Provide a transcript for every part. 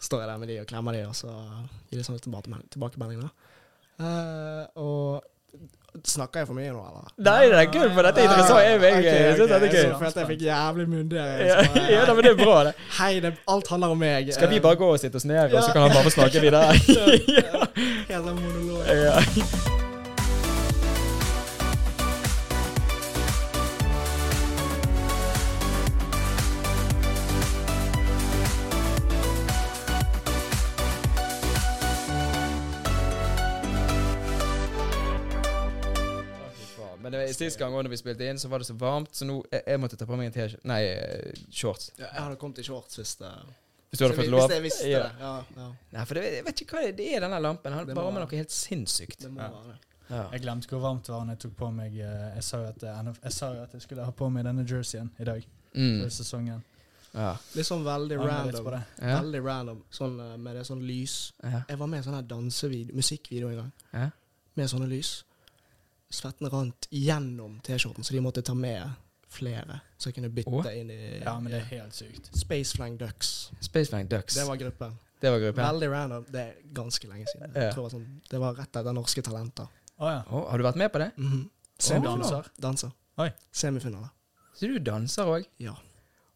står jeg der med de og klemmer de, og så gir de sånne tilbakemelding- tilbakemeldinger. Eh, og snakker jeg for mye nå, eller? Nei, det er kult, for dette er interessant. Jeg, jeg, Ok, jeg synes ok, dette er så gøy. følte jeg fikk jævlig mundigere. Ja, ja, da, men det er bra, det. Hei, det, alt handler om meg. Eh, Skal vi bare gå og sitte oss ned, og så Ja. kan han bare få snakke videre? Helt sånn monolog. Ja. Men det var- Sist gang også når vi spilte inn, så var det så varmt, så nå jeg, jeg måtte ta på meg en T-skjorte Nei, eh, shorts. Ja, jeg hadde kommet i shorts hvis det Hvis du hadde hvis- fått lov. Hvis jeg visste Ja. det. Ja, ja. Nei, for det, jeg vet ikke hva det, det er, denne lampen. Han Det bare må med være. noe helt sinnssykt. Det må Ja. være det. Ja. Jeg glemte hvor varmt det var når jeg tok på meg eh, Jeg sa jo at, eh, NF jeg, sa jo at jeg skulle ha på meg denne jerseyen i dag. Mm. For sesongen. Ja. Litt sånn veldig Angrer litt på random. det. Ja. Veldig random. Sånn eh, med det sånn lys. Ja. Jeg var med i sånn her dansevideo, musikkvideo en gang, Ja. med sånne lys. Svetten rant gjennom T-skjorten, så de måtte ta med flere. Så jeg kunne bytte Åh. inn i Ja, men det er helt sykt. Spaceflying Ducks. Spaceflying Ducks. Det var gruppen. Det var gruppen. Veldig random. Det er ganske lenge siden. Ja. Jeg tror det, var sånn, det var rett etter Norske Talenter. Å ja. Å, har du vært med på det? Mhm. Som Åh. danser. Danser. Oi. Semifinale. Så du danser òg? Ja.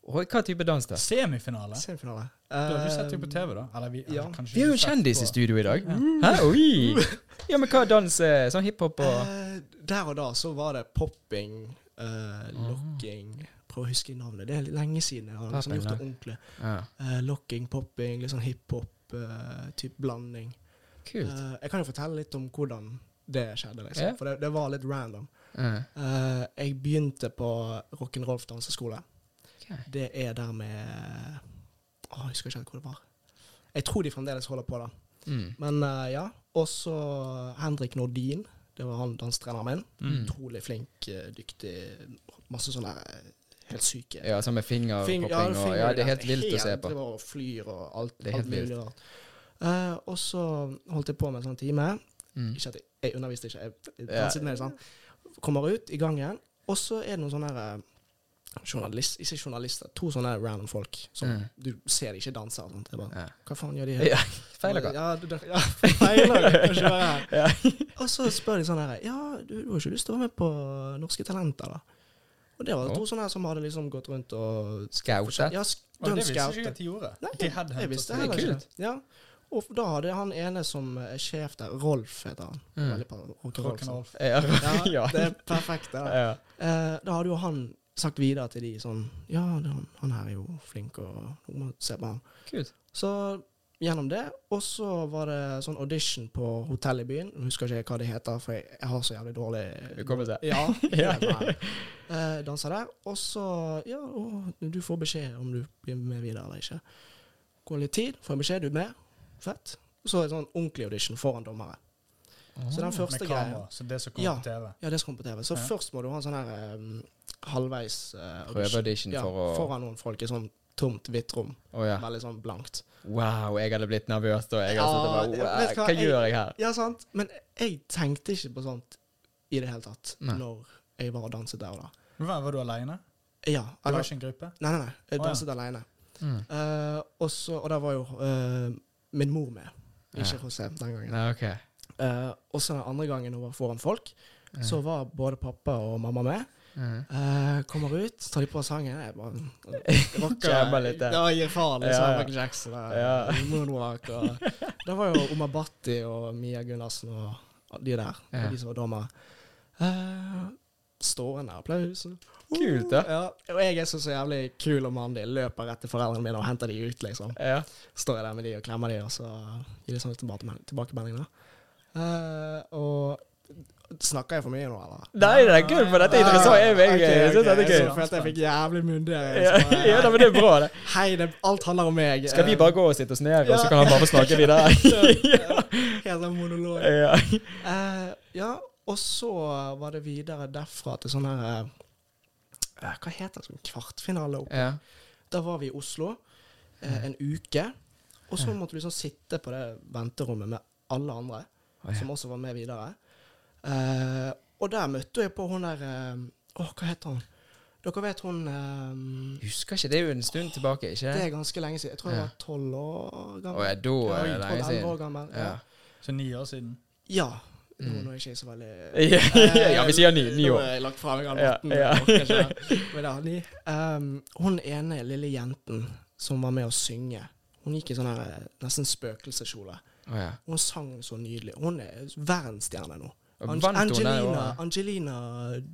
Hva type dans da? Semifinale. Semifinale. Du har du sett det på TV, da? Eller vi, ja. eller kanskje Vi har jo sett kjendis på- i studio i dag. Ja. Hæ? Oi! Ja, men hva dans eh, Sånn hiphop og Eh, der og da så var det popping, eh, locking Prøv å huske navnet. Det er litt lenge siden jeg har liksom Popping, gjort det ja. ordentlig. ja. Eh, locking, popping, litt sånn hiphop-type blanding. Kult. Eh, jeg kan jo fortelle litt om hvordan det skjedde, liksom. Ja. For det, det var litt random. Ja. Eh, jeg begynte på Rock'n'Rolf danseskole. Ok. Det er der med Å, Jeg husker ikke helt hvor det var. Jeg tror de fremdeles holder på, da. Mm. Men eh, ja. Også Henrik Nordin. Det var han dansetreneren min. Mm. Utrolig flink, eh, dyktig. Masse sånne eh, helt syke Ja, sånn med Fing- fingerpopping ja, og finger- Ja, det er helt vilt å se Helt på. driver og flyr og alt, Det er alt helt mulig rart. Eh, og så holdt jeg på med en sånn time. Mm. Ikke at jeg, jeg underviste ikke, jeg Ja. danset med det. sant? Kommer ut i gangen, og så er det noen sånne her, eh, journalist, ikke journalister, to sånne random folk som Mm. du ser de ikke danser. og Sånt. Jeg bare, Ja. hva faen gjør de her? Ja, Feiler hva? Ja, du, du- ja, feiler. du kan ikke være her. Og så spør de sånn her Ja, du, du har ikke lyst til å være med på Norske Talenter, da? Og det var Å. to sånne her som hadde liksom gått rundt og Skautet? Ja, sk- Å, de det visste ikke jeg scoutet. at de gjorde. Nei, de headhuntet Jeg visste til- Det er heller kult. ikke. Ja. Og da hadde han ene som er sjef der, Rolf heter han. Mm. Veldig bra, Rock Rolf. sant? Rock'n'roll. Ja, Ja. ja. det er perfekt. Det, da. ja. Eh, da hadde jo han sagt videre til de sånn Ja, det er han, han her er jo flink, og nå må vi se på han. Kult. Så gjennom det, og så var det sånn audition på hotell i byen. Nå husker ikke jeg hva det heter, for jeg, jeg har så jævlig dårlig Hukommelse. Ja. Ja. nei. Eh, danser der. Og så Ja, og du får beskjed om du blir med videre eller ikke. Går litt tid, får jeg beskjed, du er med. Fett. Så en sånn ordentlig audition foran dommere. Så Ah, den første Med greia kamera, så det som kom Ja. på TV. Ja, det skal komme på TV. Så Ja. først må du ha en sånn her em, halvveis eh, audition. Prøveaudition Ja, for å Å foran noen folk i sånn tomt, hvitt rom. ja. Veldig sånn blankt. Wow, jeg hadde blitt nervøs da. Jeg hadde Ja, sittet det- bare vet du wow, hva, Hva jeg- gjør jeg her? Ja, sant? Men jeg tenkte ikke på sånt i det hele tatt Nei. når jeg var og danset der og da. Men hva, var du alene? Ja, Det var eller, ikke en gruppe? nei, nei, nei. Jeg Å, ja. danset alene. Mm. Eh, og så- og der var jo eh, min mor med. Ikke Ja. José den gangen. Nei, ok. Eh, og så den andre gangen hun var foran folk, Ja. så var både pappa og mamma med. Mm. Eh, kommer ut, tar de på sangen. Jeg bare Jammer litt der. Ja, gir faen. Liksom, Ja, ja. Michael Jackson og Ja. Moonwalk. Og, da var jo Omar Bhatti og Mia Gunnarsen og de der. Ja. Og de som var dommere. Eh, stående applaus. Kult, da. Ja, og jeg er så, så jævlig kul og mandig. Løper rett til foreldrene mine og henter de ut, liksom. Ja. Står jeg der med de og klemmer de, og så gir de sånne tilbakemelding- tilbakemeldinger. Eh, og Snakker jeg for mye nå, eller? Nei, det er kult, for dette er interessant. Jeg, jeg, Ok, jeg synes ok, dette er så gøy. følte jeg fikk jævlig mundigere. Ja, ja, da, men det er bra, det. Hei, det, alt handler om meg. Skal vi Eh, bare gå og sitte oss ned, og så Ja. kan han bare få snakke videre? Helt sånn monolog. Ja. Eh, ja, og så var det videre derfra til sånn her eh, Hva heter det? Sånn kvartfinale? opp. Ja. Da var vi i Oslo Mm. eh, en uke. Og så måtte du liksom sitte på det venterommet med alle andre Å, ja. som også var med videre. Eh, og der møtte jeg på hun der eh, Å, hva heter hun? Dere vet hun eh, Husker ikke, det er jo en stund tilbake, ikke Det det? er ganske lenge siden. Jeg tror jeg Ja. var tolv år Å gammel. ja, da er det lenge 12-11 år siden. gammel. Ja. Ja. Så ni år siden. ja. Nå Mm. når jeg ikke er så veldig ja, vi sier ni, ni Eh, Nå år. er jeg lagt fra meg av Ja, natten. ja. jeg orker ikke. Men ja, ni. Ehm, hun ene lille jenten som var med å synge, hun gikk i sånn her eh, nesten spøkelseskjole. Å ja. Hun sang så nydelig. Hun er verdensstjerne nå. Ange- Vant hun den Angelina, året? Angelina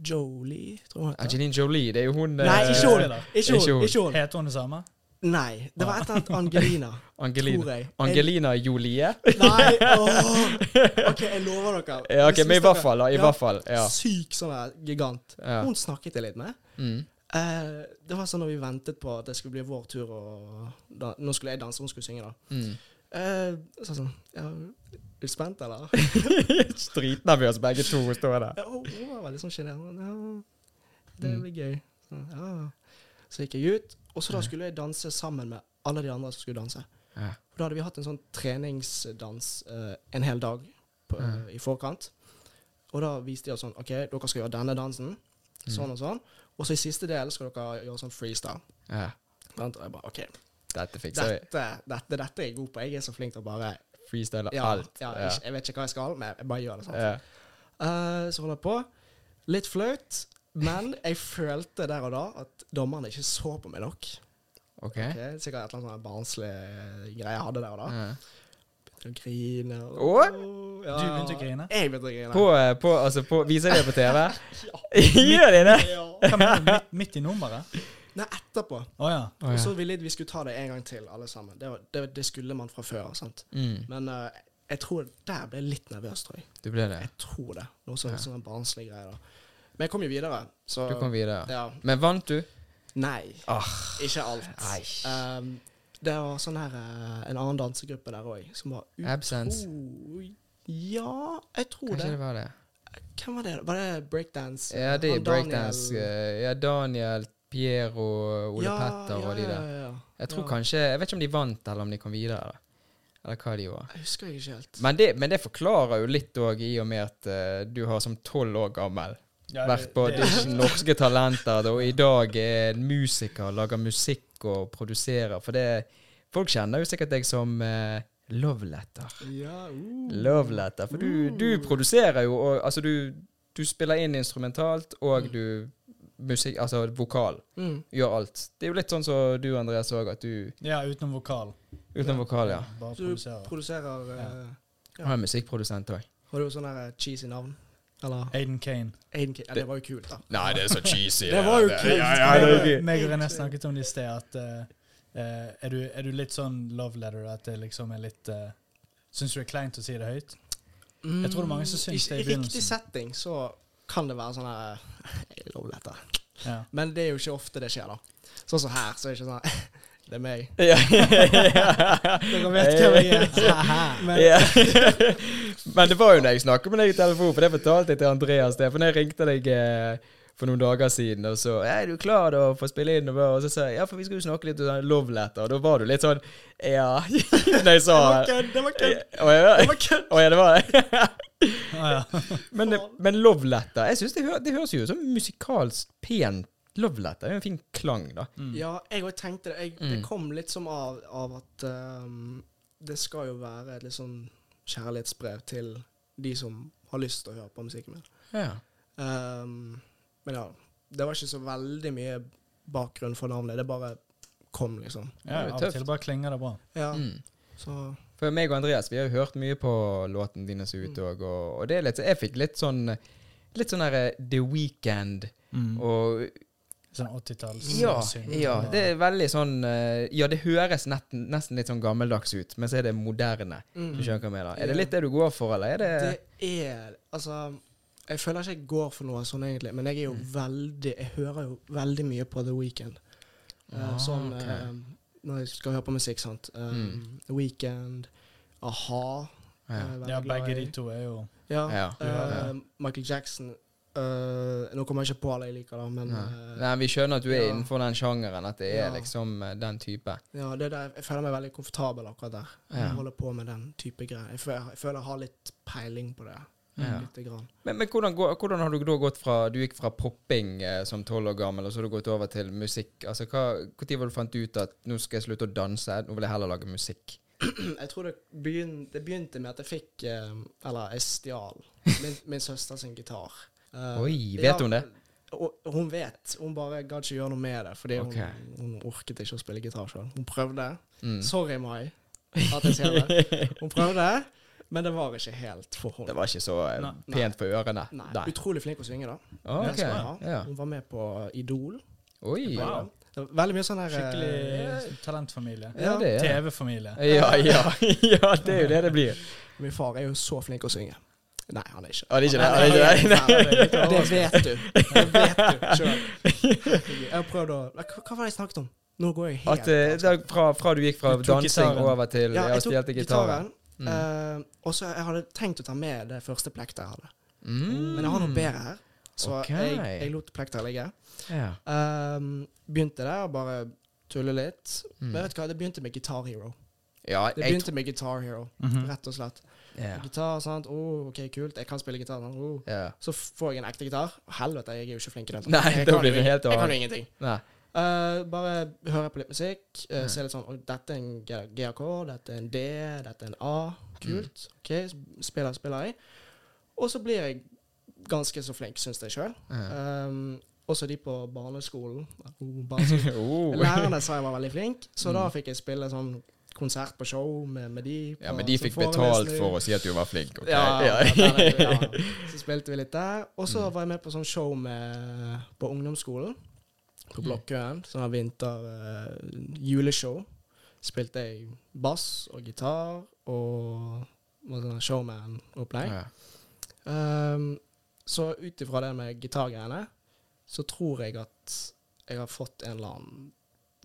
Jolie, tror jeg hun heter. Angelina Jolie, det er jo hun Nei, eh, ikke hun. Spiller. Ikke Ikke hun. hun. Ikke hun. Heter hun det samme? Nei, det var et eller annet Angelina, Angelina. tror jeg. Jeg- Angelina Jolie? Nei, åh. Ok, jeg lover dere. Ja, ok, Hvis- men hvis i hvert dere- fall, da. I Ja, hvert fall. Ja. Syk sånn her gigant. ja. Hun snakket jeg litt med. Mm. Eh, det var sånn når vi ventet på at det skulle bli vår tur, og da, nå skulle jeg danse, hun skulle synge, da. Mm. Eh, så sånn ja, Er du spent, eller? Dritnervøse begge to står der. Ja, hun hun var veldig sånn sjenert. Ja, det Mm. blir gøy. Så, ja. så gikk jeg ut, og så da skulle jeg danse sammen med alle de andre som skulle danse. Ja. For da hadde vi hatt en sånn treningsdans eh, en hel dag på, Ja. i forkant. Og da viste de oss sånn OK, dere skal gjøre denne dansen. Sånn og sånn. Og så i siste del skal dere gjøre sånn freestyle. Ja. Sant? Og jeg bare OK, Dette fikser vi. dette, dette, dette er jeg god på. Jeg er så flink til å bare Freestyle ja, alt. ja, Ja. ikke, Jeg vet ikke hva jeg skal, men jeg bare gjør det. sant? Ja. Eh, så holder jeg på. Litt flaut, men jeg følte der og da at dommerne ikke så på meg nok. OK. Ok, sikkert et eller annet sånn barnslig greie jeg hadde der og da. Ja. Begynte å grine. og- Ja. Du begynte å grine? Jeg begynte å grine. På, eh, på, altså, på, viser de det på TV? Gjør de det? ja. Hva mener du? Midt, midt i nummeret? Nei, etterpå. Å ja. Å, Og ja. så ville de vi skulle ta det en gang til, alle sammen. Det, var, det, det skulle man fra før. sant? Mm, Men eh, jeg tror der ble jeg litt nervøs, tror jeg. du ble det. Jeg tror det. Noe sånn, Ja. sånn en barnslig greie. da. Men jeg kom jo videre, så Du kom videre. ja. Men vant du? Nei. Ah. Ikke alt. Nei. Ehm, det var sånn her eh, en annen dansegruppe der òg, som var Absence. utro... Ja, jeg tror Kanskje det det. var det. Hvem var det? da? Var det breakdance? Ja, det er Han Daniel- breakdance. eh, Ja, Daniel, Piero, Ole Ja, Petter og ja, de der. Ja, ja, ja. Jeg tror Ja. kanskje Jeg vet ikke om de vant, eller om de kom videre. Eller hva de gjorde. Jeg husker ikke helt. Men det, men det forklarer jo litt òg, i og med at eh, du har som tolv år gammel Ja, vært på det- det- audition, norske talenter, da, og i dag er en musiker, lager musikk og produserer. For det Folk kjenner jo sikkert deg som eh, Love Letter. Ja, uh. Love Letter. For du, Mm. du produserer jo, og altså du, du spiller inn instrumentalt, og du musikk, altså vokal. Mm. Gjør alt. Det er jo litt sånn som du, Andreas, òg, at du Ja, utenom vokal. Utenom vokal, ja. Bare Så du produserer. produserer eh, Ja. Han er musikkprodusent òg. Har du sånn her eh, cheesy navn? Eller Aiden Kane. Aiden K- Ja, det var jo kult, da. Nei, det er så cheesy. Det var jo kult. Meg- Meg og René snakket om det i sted, at eh, eh, er, du, er du litt sånn love letter at det liksom er litt uh, Syns du det er kleint å si det høyt? Jeg tror det er mange som Mm, syns i- det i I riktig begynnelsen. setting så kan det være sånn her Jeg lover dette. Ja. Men det er jo ikke ofte det skjer, da. Sånn som her, så er det ikke sånn Det er meg. Ja. Dere vet hvem jeg er. Så her. Men Ja. Men det var jo når jeg snakket med deg i telefon, for det fortalte jeg til Andreas. Det, for når jeg ringte deg eh, for noen dager siden, og så Er du klar da for å spille inn? Og, bare- og så sa jeg ja, for vi skulle jo snakke litt om sånn love letter. Og da var du litt sånn ja. Når jeg sa det var kødd, det var Å kødd. ja, Det var kødd. å ja, det var det. Ah, ja. Men, men love letter Jeg synes det, hø det høres jo ut som musikalsk pen love letter. Det er jo en fin klang, da. Mm. Ja, jeg òg tenkte det. Jeg, det Mm. kom litt som av, av at ehm, det skal jo være et litt sånn kjærlighetsbrev til de som har lyst til å høre på musikken min. Ja. Ehm, men ja, det var ikke så veldig mye bakgrunn for navnet. Det bare kom, liksom. ja, Det er av og tøft. til bare klinger det bra. Ja, Mm. så For meg og Andreas, vi har jo hørt mye på låten din som er ute òg, og, og det er litt Jeg fikk litt sånn Litt sånn derre The Weekend Mm. Mm. og Sånn 80-talls Ja. syng. ja det er veldig sånn eh, Ja, det høres netten, nesten litt sånn gammeldags ut, men så er det moderne. Du mm. skjønner hva jeg mener. Er Ja. det litt det du går for, eller er det, Det er Altså, jeg føler ikke jeg går for noe sånn egentlig, men jeg er jo Mm. veldig Jeg hører jo veldig mye på The Weekend. Ah, sånn ok. eh, når jeg skal høre på musikk, sant. Eh, Mm. The Weekend, a-ha. er jeg veldig Ja, glad begge i. de to er jo Ja. Ja. ja. eh, Michael Jackson eh, Nå kommer jeg ikke på alle jeg liker, da, men Ja. eh, Nei, vi skjønner at du er ja. innenfor den sjangeren, at det er Ja. liksom eh, den type. ja, det er der, jeg føler meg veldig komfortabel akkurat der. Ja. Jeg holder på med den type greier. Jeg føler jeg, føler jeg har litt peiling på det. Ja. Lite grann. Men, men hvordan, går, hvordan har du da gått fra Du gikk fra popping eh, som tolv år gammel, og så har du gått over til musikk. Altså, hva, Når var det du fant ut at nå skal jeg slutte å danse, nå vil jeg heller lage musikk? Jeg tror det begynte, det begynte med at jeg fikk eh, Eller jeg stjal min, min søster sin gitar. Eh, Oi, ja, vet hun det? Og hun vet. Hun bare gadd ikke gjøre noe med det, fordi Ok. hun, hun orket ikke å spille gitar sjøl. Hun prøvde. Mm. Sorry, Mai, at jeg sier det. Hun prøvde, men det var ikke helt for Det henne. var ikke så eh, Nei. pent for ørene. Nei. Utrolig flink å synge, da. Ok, Ja, ja. Hun var med på Idol. Oi. Wow. Det var veldig mye sånn her eh, Skikkelig talentfamilie. Ja, det er det. TV-familie. Ja, ja, ja, det er jo det det blir. Min far er jo så flink å synge. Nei, han er ikke. Å, det er ikke det? Å, det er ikke det? Det vet du. Det vet du sjøl. Jeg har prøvd å Hva hva var det jeg snakket om? Nå går jeg helt At eh, da, fra, fra du gikk fra Du tok dansing gitaren. over til Ja, ja, jeg tok stjelte gitaren. gitaren. eh, og så jeg hadde tenkt å ta med det første plektet jeg hadde. Mm. Men jeg har noe bedre her, så Ok. jeg, jeg lot plektet ligge. Ja. Ehm, begynte der, bare tulle litt. Men vet du hva, det begynte med Guitar Hero. ja, Det Mm. jeg begynte med Guitar Hero, Mhm. rett og slett. tr- ja. Gitar, sant. Oh, OK, kult. Jeg kan spille gitar. sant? Oh. ja. Så får jeg en ekte gitar. Helvete, jeg er jo ikke flink i det. Nei, jeg da kan blir jo det ing- helt Jeg kan annet. jo ingenting. Nei. Eh, bare hører på litt musikk. eh, Mm. ser litt sånn «Oi, Dette er en G- GAK, dette er en D, dette er en A. Kult. Mm. OK, s- spiller, spiller jeg. Og så blir jeg ganske så flink, syns jeg sjøl. Ja. også de på barneskolen. Oh, barneskolen. Oh. Lærerne sa jeg var veldig flink, så da fikk jeg spille sånn konsert på show med, med de. På, Mm. Ja, men de som fikk betalt forelesning. for å si at du var flink. ok? Ja, ja, Ja. der- ja. Så spilte vi litt der. Og så var jeg med på sånn show med, på ungdomsskolen. På Blokkøen. Sånn her vinter eh, juleshow. Spilte jeg bass og gitar og var sånn showman-opplegg. Ja. Ehm, så ut ifra det med gitargreiene, så tror jeg at jeg har fått en eller annen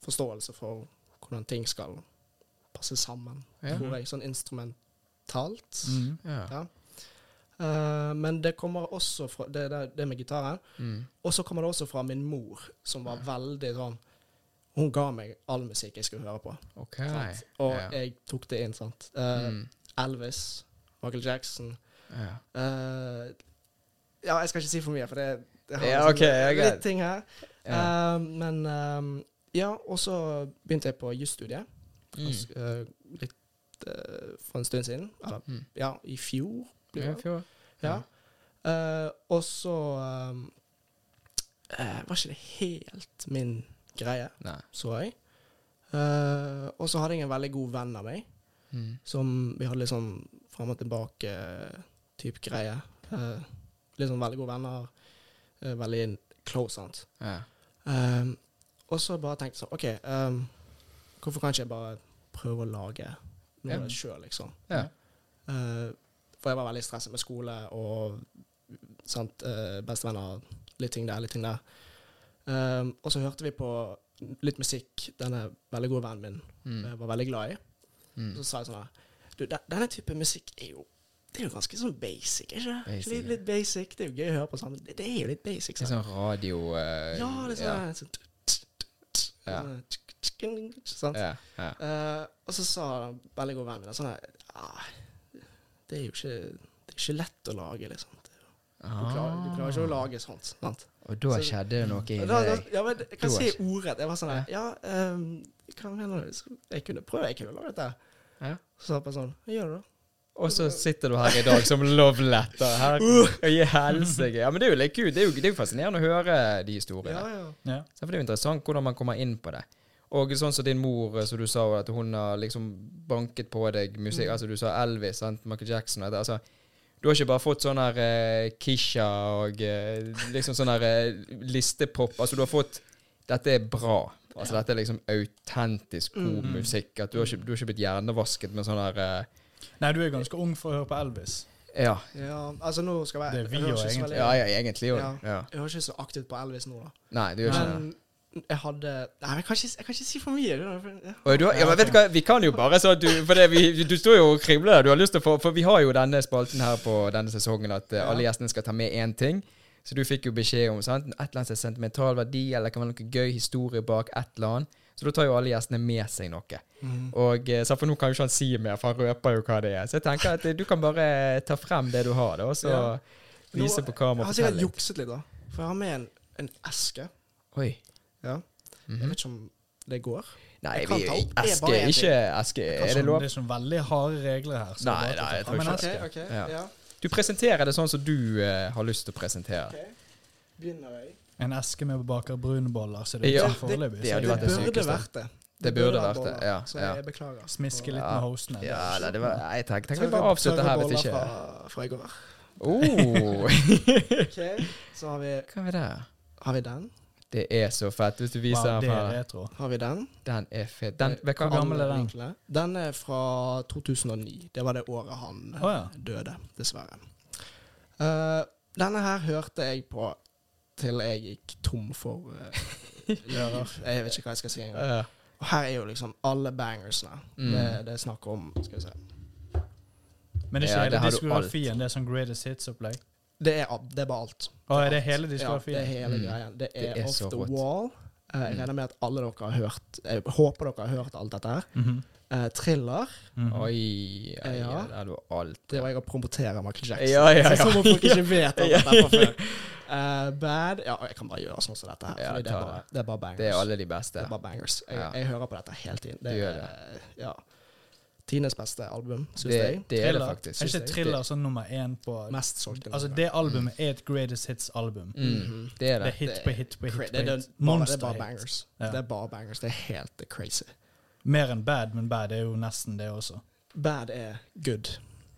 forståelse for hvordan ting skal passe sammen. Ja. Tror jeg, sånn instrumentalt. Mhm. Ja. Ja. Eh, men det kommer også fra det, det, det med gitaren. Mm. Og så kommer det også fra min mor, som var veldig sånn Hun ga meg all musikk jeg skulle høre på. Ok. sant? Og Ja. jeg tok det inn, sant. Eh, Mm. Elvis, Michael Jackson Ja. eh, Ja, jeg skal ikke si for mye, for det, det har Ja, liksom ok, ja, greit. litt ting her. Ja. Eh, men eh, ja, og så begynte jeg på jusstudiet. Mm. eh, litt eh, for en stund siden. Eller Mm. ja, i fjor. blir Ja, det. fjor. Ja. Eh, og så um, eh, var ikke det helt min greie, Nei. så jeg. Eh, og så hadde jeg en veldig god venn av meg, Mm. som vi hadde litt sånn fram og tilbake-type greie. Eh, litt sånn veldig gode venner, eh, veldig close, sant. Ja. Eh, og så bare tenkte jeg sånn OK, eh, hvorfor kan ikke jeg bare prøve å lage noe Ja. sjøl, liksom? Ja. Eh, for jeg var veldig stresset med skole og sant, eh, bestevenner, litt ting der, litt ting der. Ehm, og så hørte vi på litt musikk denne veldig gode vennen min Mm. eh, var veldig glad i. Mm. Så sa jeg sånn her Du, de- denne type musikk er jo det er jo ganske sånn basic, er ikke det? Basic, Litt, litt basic. Det er jo gøy å høre på sammen. Det, det er jo litt basic. Det er Sant? sånn radio eh, Ja, det er sånn, her, sånn, Ja. sånn, sånn, sant? Ja. Ja. Eh, og så sa den veldig god vennen min sånn her ah, Det er jo ikke, det er ikke lett å lage, liksom. Du Ah. klarer, du klarer ikke å lage sånt. sant? Og da Så- skjedde det noe Da, inni da, deg. ja, men jeg kan Du si er ordet. Jeg var sånn her Ja, ehm, hva mener du? Så Jeg kunne prøve, jeg kunne lage dette. Ja. Så sa jeg bare sånn «Ja, Gjør det, da. Og så sitter du her i dag som loveletter. Her. Uh. I helsike. Ja, men det er jo litt kult. Det er jo, det er jo fascinerende å høre de Ja, historiene. ja. Ja. Så For det er jo interessant hvordan man kommer inn på det. Og sånn som din mor, eh, som du sa, at hun har liksom banket på deg musikk Mm. Altså, du sa Elvis, sant? Michael Jackson og det. Altså, du har ikke bare fått sånn her eh, Kisha og eh, liksom sånn her eh, listepop Altså, du har fått Dette er bra. Altså, dette er liksom autentisk god Mm. musikk. At du har, ikke, du har ikke blitt hjernevasket med sånn her eh, Nei, du er ganske ung for å høre på Elvis. Ja. ja, altså nå skal jeg Det er vi jeg hører jo, ikke så egentlig. veldig- Ja, ja, egentlig jo. Ja. Ja. Jeg hører ikke så aktivt på Elvis nå, da. Nei, du gjør ikke det. Men jeg hadde Nei, men jeg kan ikke, jeg kan ikke si for mye. det er- Ja. Og du, har- ja, men vet du hva, Vi kan jo bare så at du For det, vi, du står jo og kribler der. Du har lyst til å få For vi har jo denne spalten her på denne sesongen at eh, alle gjestene skal ta med én ting. sånn Så du fikk jo beskjed om sant? et eller annet som er sentimental verdi, eller det kan være noe gøy historie bak et eller annet. Så da tar jo alle gjestene med seg noe. Mm. Og eh, så For nå kan jo ikke han si mer, for han røper jo hva det er. Så jeg tenker at eh, du kan bare ta frem det du har, da, og så Ja. vise Nå- på kamera Jeg og har sikkert fortelle. litt. jukset litt, da. For jeg har med en, en eske. Oi. Ja. Jeg Mhm. vet ikke om det går. Nei, Jeg kan vi, ta opp. Det er eske, bare en ting. ikke eske. Er det sånn, lov? det er sånn veldig harde regler her. så Nei, det er bare nei, jeg å ta- tror men ikke altså, ok, Ja. Du presenterer det sånn som du eh, har lyst til å presentere. Begynner jeg? En eske med baker brunboller, så det er Ja, ikke foreløpig. det så hadde vært Det det er- burde sykeste. vært det. Det burde ha vært det, boller, ja, Så ja. jeg beklager. Smiske litt Ja. med hostene. det er Ja, ikke nei, det noe. var, nei, jeg tenker, tenker vi bare avslutte her hvis ikke Fra, fra i går. oh. Ok, Så har vi, Hva er det? har vi den. Det er så fett. Hvis du viser Wow, den det er fra retro. Har vi den. Den er fet. Den, vet du Hvor hva? gammel er Alle den? vinklene. Den Eh, er fra 2009. Det var det året han eh, Å, ja. døde, dessverre. Eh, denne her hørte jeg på til jeg gikk tom for eh, ører. Jeg vet ikke hva jeg skal si engang. Ja. Og her er jo liksom alle bangersene Mm. det, det er snakk om. Skal vi se. Men det er Ja, ikke det hele har du diskografien, det er sånn Greatest Hits-opplegg. Det er, ab- det er bare alt. Å, er det Ja, hele det er diskografien? hele Mm. greien. Det er, Det er Off så the rått. Wall. Eh, Mm. jeg regner med at alle dere har hørt Jeg håper dere har hørt alt dette her. Mhm. Eh, thriller. Mhm. Oi, ja, ja. Ja. der er du alt. Det var jeg å promotere Michael Jackson. Ja, ja, ja. Sånn som om folk ikke vet alt Ja. dette her fra før. Eh, bad Ja, jeg kan bare gjøre sånn som dette her. Ja, fordi det, ta er bare, det er bare bangers. Det er alle de beste. Det er bare bangers. Jeg, Ja. jeg hører på dette hele tiden. Det Du gjør er ja, Tines beste album, syns Det, jeg. det er det Thriller. faktisk. Er ikke Thriller sånn nummer én på Mest solgte. Altså, nummer. det albumet er et Greatest Hits-album. Det, mm, det er Det er det. hit på hit på hit. Cra- på det, er hit. den- bare, det er bare Monsterhit. bangers. Ja. Det er bare bangers. Det er helt det er crazy. Mer enn Bad, men Bad er jo nesten det også. Bad er good.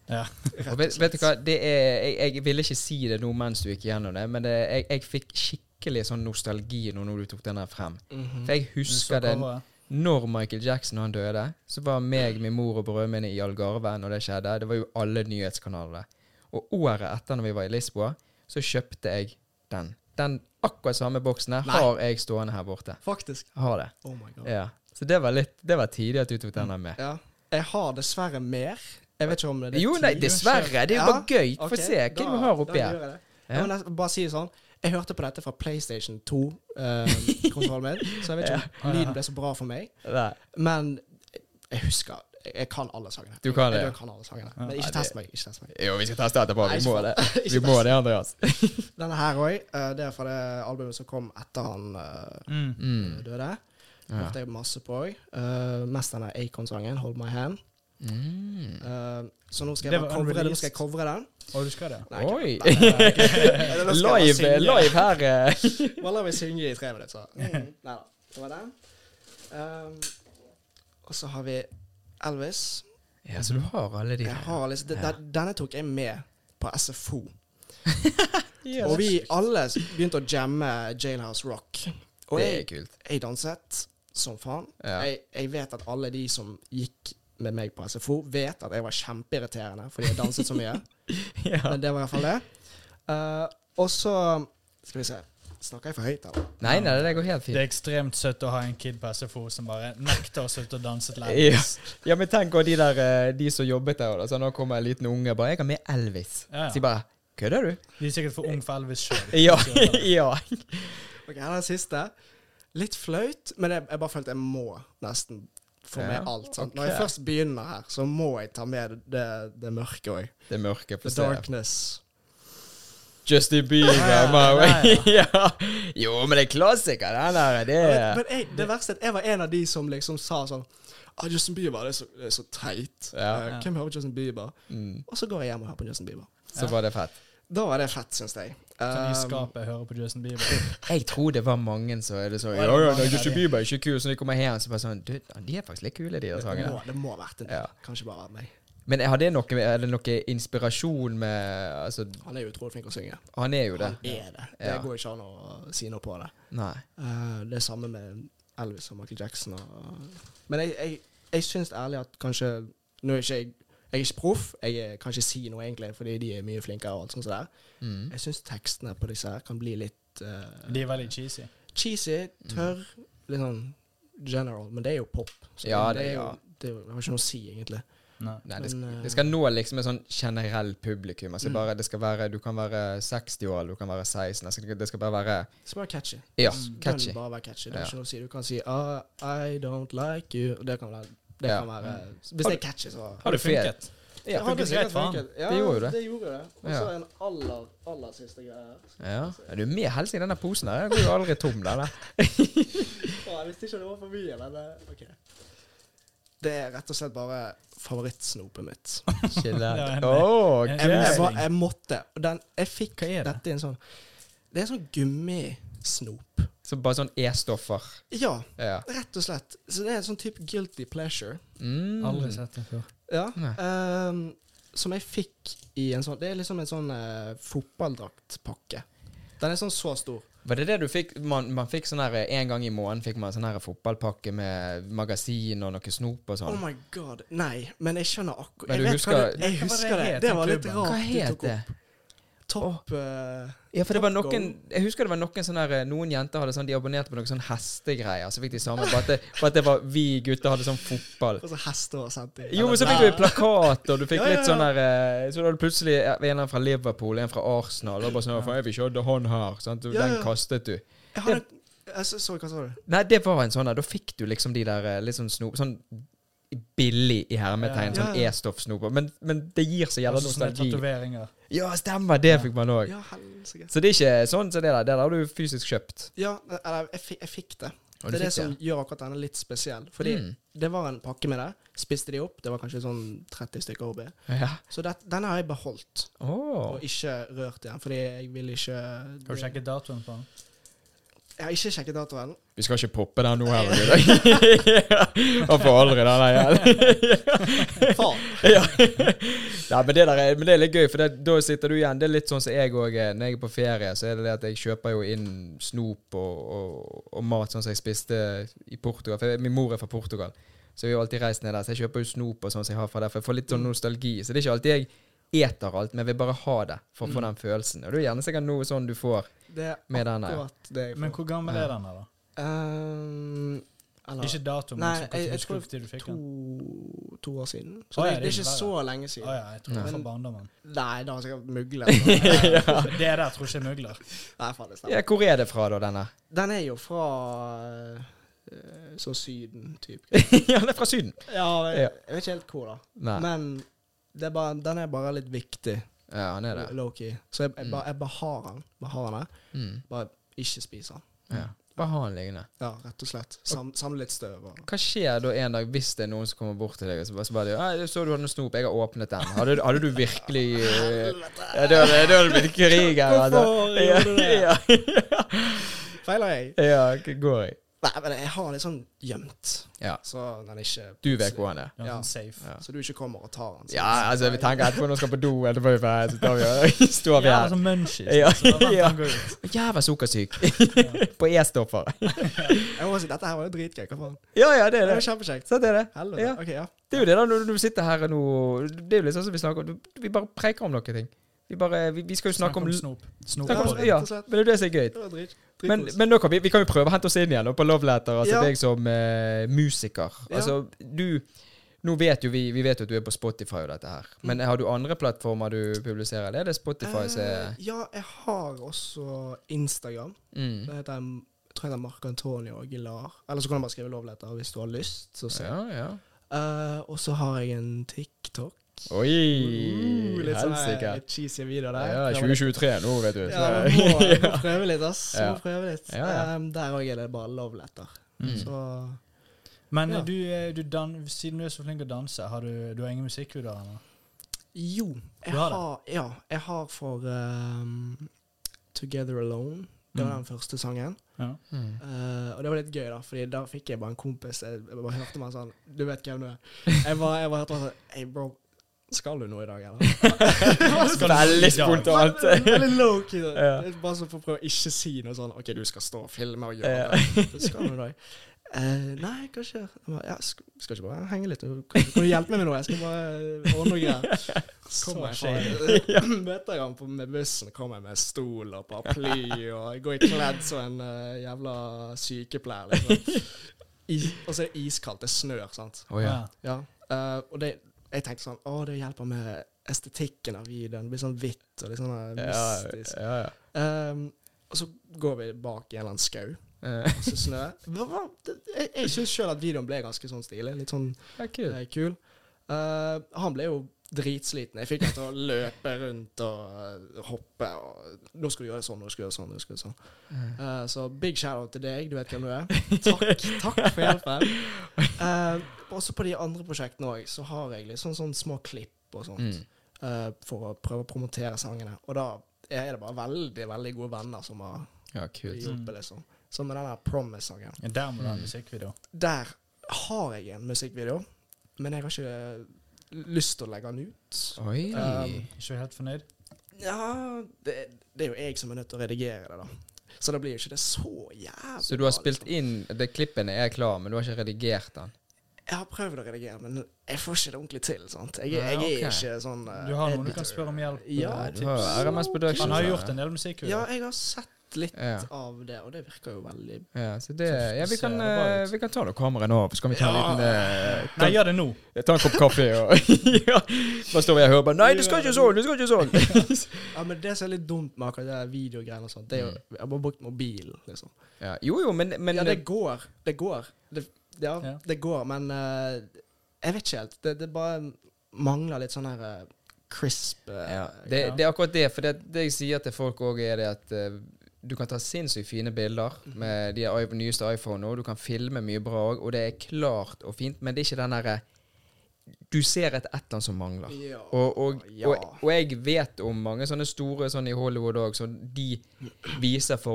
Ja. Og vet, vet du hva, det er, jeg, jeg ville ikke si det nå mens du gikk gjennom det, men det, jeg, jeg fikk skikkelig sånn nostalgi nå når du tok den her frem. Mhm. For jeg Du så husker det coveret. Når Michael Jackson han døde, så var meg, min mor og brødrene mine i Algarve når det skjedde. Det var jo alle nyhetskanalene. Og året etter, når vi var i Lisboa, så kjøpte jeg den. Den akkurat samme boksen her Nei. har jeg stående her borte. Faktisk. Jeg Har det. Oh my god. Ja. Så det var litt Det var tidlig at du tok den her med. Ja. Jeg har dessverre mer. Jeg vet ikke om det er Jo, nei, ti. dessverre. Det er jo Ja, bare gøy. Ok, Få se hva da- du har oppi da her. gjør jeg det. Ja. Jeg må nesten bare si det sånn. Jeg hørte på dette fra PlayStation 2-konsollen min, så jeg vet ikke om lyden ble så bra for meg. Nei. Men jeg husker Jeg kan alle sangene. Du kan jeg, det, jeg ja. kan alle sangene. Men Ja, ikke det- test meg. Ikke test meg. Jo, vi skal teste etterpå. Nei, Vi ikke må det. sant. Vi må det, Andreas. Denne her òg. Det er fra det albumet som kom etter han eh, Mm. Mm. døde. Ja. Hørte jeg masse på òg. Eh, mest denne Acon-sangen, 'Hold My Hand'. Mm. Eh, så nå skal jeg Det bare var covre, nå unreleased. skal jeg covre den. Og du skal det? Nei, ok. Oi. Eller nå skal jeg bare Live, synge. live her. eh. Bare la meg synge i tre minutter. Mm. Nei da. Det var den. Ehm, og så har vi Elvis. Ja, så du har alle de Jeg har liksom, den- den- Denne tok jeg med på SFO. Ja, Og vi alle s- begynte å jamme Jailhouse Rock. Og det er jeg, kult. jeg danset som faen. Ja. Jeg, jeg vet at alle de som gikk med meg på SFO, vet at jeg var kjempeirriterende fordi jeg danset så mye. Men det var i hvert fall det. Eh, og så Skal vi se. Snakker jeg for høyt, eller? Nei, nei, det går helt Det er fint. ekstremt søtt å ha en kid på SFO som bare nekter å slutte å danse til Ja. Elvis. ja, men tenk også de der eh, De som jobbet der. og da, Så nå kommer en liten unge og bare 'Jeg har med Elvis'. Ja, ja. Så de bare 'Kødder du?' De er sikkert for ung for Elvis sjøl. Ja. ja. Ok, her er den siste. Litt flaut, men jeg, jeg bare følte jeg må nesten få med Ja, alt. Sant? ok. Når jeg først begynner her, så må jeg ta med det, det mørke òg. Det mørke på The stedet. darkness. Justin Bieber. Ja, Mau. ja, ja. Jo, men det er klassiker, den der. Det Men, er men jeg, det verste er at jeg var en av de som liksom sa sånn ah, Justin Bieber, det er så, det er så teit. Ja. Eh, Hvem hører på Justin Bieber? mm, Og så går jeg hjem og hører på Justin Bieber. Så var det fett. Da var det fett, syns jeg. Sånn i Um, skapet hører på Justin Bieber. Jeg tror det var mange som er det sånn 'Ja, Ja, det var ja, mange nei, av Justin de. Bieber er ikke kul', så de kommer hjem og bare sånn Du, de er faktisk litt kule, de der det, sangene. må, det må ha vært en del. Ja. Kanskje bare vært meg. Men har det noe, er det noe inspirasjon med Altså, Han er jo utrolig flink til å synge. han er jo det. Han er det. Det Ja. går ikke an å si noe på det. Nei. Eh, det er samme med Elvis og Michael Jackson. Og, men jeg, jeg, jeg syns ærlig at kanskje Nå er ikke jeg jeg er ikke proff, jeg er- kan ikke si noe egentlig, fordi de er mye flinkere. og alt sånt der. Mm. Jeg syns tekstene på disse her kan bli litt eh, De er veldig cheesy. cheesy, Mm. tørr, litt sånn general. Men det er jo pop. Ja, det, det- er jo, ja. det, er jo- det har ikke noe å si, egentlig. Nei. Nei, det, Men, skal, eh, det skal nå liksom en sånn generell publikum. Altså bare, det skal være, du kan være 60 år, eller du kan være 16. Det skal, det skal bare være Det skal være catchy. Ja, Den catchy. Bare være catchy. Det er Ja. ikke noe å si. Du kan si ah, I don't like you. Det kan være, det Ja. kan være Hvis det er catchy, så Har det funket? Det Ja. hadde funket sikkert greit for han. funket. Ja, Det gjorde det. Det gjorde det. Og så Ja. en aller, aller siste greie her. ja. Er du med helse i denne posen her? Den går jo aldri tom, den der. Faen, Hvis ikke det var for mye, men det- ok. Det er rett og slett bare favorittsnopet mitt. Chille. Ja, nei. Åh, Jeg- Jeg, jeg, ok. var, jeg måtte. Og den, jeg fikk Hva er det? dette i en sånn Det er en sånn gummisnop. Så bare sånn E-stoffer. Ja, Ja. rett og slett. Så det er en sånn type guilty pleasure. Mm. Aldri sett det før. Ja. Nei. ehm, som jeg fikk i en sånn Det er liksom en sånn eh, fotballdraktpakke. Den er sånn så stor. Var det det du fikk? Man, man fikk sånn her En gang i måneden fikk man sånn her fotballpakke med magasin og noe snop Oh og sånn. my god. Nei, men jeg skjønner akkurat Men Jeg du vet husker- hva det Jeg Ja, hva var det husker det. het, Det den var litt klubben? rart. Hva du het tok det? opp. Topp eh, Ja, for det var Top noen Jeg husker det var noen sånne her, noen jenter hadde sånn, de abonnerte på noen sånn hestegreier. Så fikk de samme. Bare at det, bare at det var vi gutter hadde sånn fotball. Og så hester og sånt. Jo, men så fikk du jo plakat, og du fikk Ja, ja, litt sånn her eh, Så da hadde du plutselig en eller annen fra Liverpool, en fra Arsenal. Og bare sånn, faen, jeg vil ikke ha han her. Sant? Ja, Den ja. kastet du. Jeg har en jeg så- Sorry, hva sa du? Nei, det var en sånn her. Da fikk du liksom de der eh, litt sånn snop Sånn billig i hermetegn, Ja. sånn Ja. sånn E-stoffsnoper. Men, men det gir så jævla Også Altså, sånne nostalgi. tatoveringer. Ja, stemmer, det fikk man òg. Ja, helsike. Så det er ikke sånn som det der. Det der har du fysisk kjøpt. Ja, eller jeg fikk, jeg fikk det. det Og du er det fikk som gjør akkurat denne litt spesiell. Fordi Mm. det var en pakke med det. Spiste de opp. Det var kanskje sånn 30 stykker OB. Ja. Så det, denne har jeg beholdt, Åh. og ikke rørt igjen. Fordi jeg vil ikke Har du sjekket datoen på den? Jeg har ikke sjekket datoen. Vi skal ikke poppe den nå heller, gutter. Han får aldri den der Faen. ja. Nei, men det, der er, men det er litt gøy, for det, da sitter du igjen. Det er litt sånn som jeg òg er. Når jeg er på ferie, så er det det at jeg kjøper jo inn snop og, og, og mat, sånn som jeg spiste i Portugal. For jeg- min mor er fra Portugal, så vi har alltid reist ned der. Så jeg kjøper jo snop og sånn som jeg har fra der, for jeg får litt sånn nostalgi. Så det er ikke alltid jeg eter alt, men jeg vil bare ha det for å få den følelsen. Og det er gjerne sikkert noe sånn du får Det er med den der. akkurat det jeg Men får. hvor gammel er den her, da? Ehm, eller Ikke dato, men Nei, så jeg- jeg hvordan husker tror du når du fikk to, den? to år siden. Så Å, ja, det, det er ikke verre. så lenge Å siden. ja, jeg tror det Nei. var fra barndommen. Nei, da har jeg sikkert muglet. Det der tror ikke jeg mugler. Nei, faen, det stemmer. Ja, hvor er det fra, da, denne? Den er jo fra eh, sånn Syden, type. ja, den er fra Syden. Ja, jeg, Ja. jeg vet ikke helt hvor, da. Nei. Men det er bare, den er bare litt viktig, Ja, han er det. low-key. Så jeg, jeg, bare, jeg bare har den. Bare har den her. Mm. Bare ikke spiser den. Ja. Bare ha han liggende. Ja, rett og slett. Sam, samle litt støv. Og. Hva skjer da en dag hvis det er noen som kommer bort til deg og så bare, så bare «Ah, jeg så du hadde noe snop, jeg har åpnet den. Hadde, hadde du virkelig eh, ja, Da hadde da hadde det blitt krig her. altså. Hvorfor Ja, gjorde du det? Ja, Feiler jeg? ja, hva går jeg? Nei, men jeg har litt sånn gjemt. Ja. Så den er ikke Du vet hvor han er. Det er Ja. sånn safe. Ja. Så du ikke kommer og tar den. så- Ja, altså, vi tenker etterpå når vi skal på do, etterpå er vi ferdig, så tar vi og står vi Ja, her. altså munchies. Ja. liksom. Da venter Ja. han går ut. Jævla sukkersyk. På E-stoffer. Jeg må si, Dette her var jo dritgøy. Hva faen? Ja, ja, det Det er var det. kjempekjekt. Sånn er det. Helvete. Ja. Ok, ja. Det er jo det da, når du sitter her nå Det er jo litt sånn som vi snakker om. Vi bare preker om noen ting. Vi, bare, vi, vi skal jo snakke om snop. Snop snakke på om- det. Ja, rett og slett. men det er jo det som er gøy. Det var drit, Men, dritkos. men nå kan vi, vi kan jo prøve å hente oss inn igjen og på Love Letter. Altså Ja. deg som eh, musiker. Ja. Altså, du Nå vet jo vi Vi vet jo at du er på Spotify og dette her. Men Mm. har du andre plattformer du publiserer, eller er det Spotify som er Eh, Ja, jeg har også Instagram. mm. Det heter jeg jeg tror jeg heter Marco Antonio Aguilar. Eller så kan du bare skrive lovletter hvis du har lyst. Så ser. jeg. Ja, ja. Eh, og så har jeg en TikTok. Oi! Uh, litt sånn eh, Helsike. litt cheesy video der. Ja, Prøver litt. 2023 nå, vet Ja, du. Så. man må, man må prøve litt, ass. Man Ja. Må prøve litt. Ja, ja. Em, der òg er det bare lovletter. Mm. Så Men Ja. du, eh, du dan siden du er så flink til å danse, har du, du har ingen musikkvideoer ennå? jo, jeg Du har har, det? Ja, jeg har for em, Together Alone. Det var Mm. den første sangen. Ja. Mm. Eh, og det var litt gøy, da, Fordi da fikk jeg bare en kompis. Jeg, jeg bare hørte meg sånn Du vet hvem du er. Jeg bare, jeg bare hørte meg sånn Hey, bro. Skal du noe i dag, eller? Veldig spontant. Veldig low-key. da. Ja. Det er Bare sånn for å prøve å ikke si noe sånn OK, du skal stå og filme og Ja. gjøre det. Skal du noe i dag? Eh, nei, kanskje jeg bare, ja, skal, skal ikke bare henge litt? Kan, kan du hjelpe meg med noe? Jeg skal bare ordne noe greier. Så Kommer jeg fra Møter jeg ham på- med bussen, kommer jeg med stol og paraply og jeg går i kledd som en eh, jævla sykepleier. Liksom. Is, og så er det iskaldt, det snør, sant. Å ja. Ja. eh, og det, Jeg tenkte sånn Å, det hjelper med estetikken av videoen. Det blir sånn hvitt og litt sånn her Ja, mystisk. ja, ja. Ehm, og så går vi bak i en eller annen skau, Eh, og så snø. Hva- hva- det- Jeg, jeg syns sjøl at videoen ble ganske sånn stilig. Litt sånn Ja, kult. eh, kul. Eh, han ble jo dritsliten. Jeg fikk han til å løpe rundt og eh, hoppe og Nå skal du gjøre sånn, nå skal du gjøre sånn, nå skal du gjøre sånn. Eh, så big shout-out til deg, du vet hvem du er. Takk, takk for hjelpen. Eh, også på de andre prosjektene òg, så har jeg litt sånn, sånn små klipp og sånt Mm. eh, for å prøve å promotere sangene. Og da er det bare veldig veldig gode venner som har Ja, kult. hjulpet, liksom. Så med den der Promise-sangen Ja, Der må du ha Mm. en musikkvideo. Der har jeg en musikkvideo, men jeg har ikke lyst til å legge den ut. Oi. Um, Eh, Ikke helt fornøyd? Ja, det, det er jo jeg som er nødt til å redigere det, da. Så da blir jo ikke det så jævlig Så du har bra, spilt liksom. inn det Klippene er klar, men du har ikke redigert den? Jeg har prøvd å redigere, men jeg får ikke det ordentlig til. sant? Jeg, Nei, jeg er ok. ikke sånn eh, Du har noen du editor. kan spørre om hjelp? Ja, Nei, eh, du tips. har jo RMS Productions. Han har jo her. gjort en del Ja, musikkvideoer. jeg har sett litt Ja. av det, og det virker jo veldig Ja, så det, Så ja, vi, kan, ser det bra eh, ut. vi kan ta noe kamera nå, så kan vi ta en Ja. liten eh, Nei, gjør det nå! ta, ta en kopp kaffe og ja. Bare står vi her og hører bare 'Nei, du skal ikke sånn! Du skal ikke sånn!' Ja, men det som er litt dumt med akkurat det der videogreiene og sånt, det er jo Jeg har bare brukt mobilen, liksom. ja, jo, jo, men, men ja, Mm. det går. Det går. Det, ja, Ja. det går, men eh, jeg vet ikke helt. Det, det bare mangler litt sånn her eh, crisp eh, Ja, det, Ja. det er akkurat det. For det, det jeg sier til folk òg, er det at eh, du kan ta sinnssykt fine bilder med de i- nyeste iPhone nå. Du kan filme mye bra òg, og det er klart og fint, men det er ikke den derre Du ser et et eller annet som mangler. Ja. Og, og, Ja. og, og jeg vet om mange sånne store sånn i Hollywood òg, som de viser for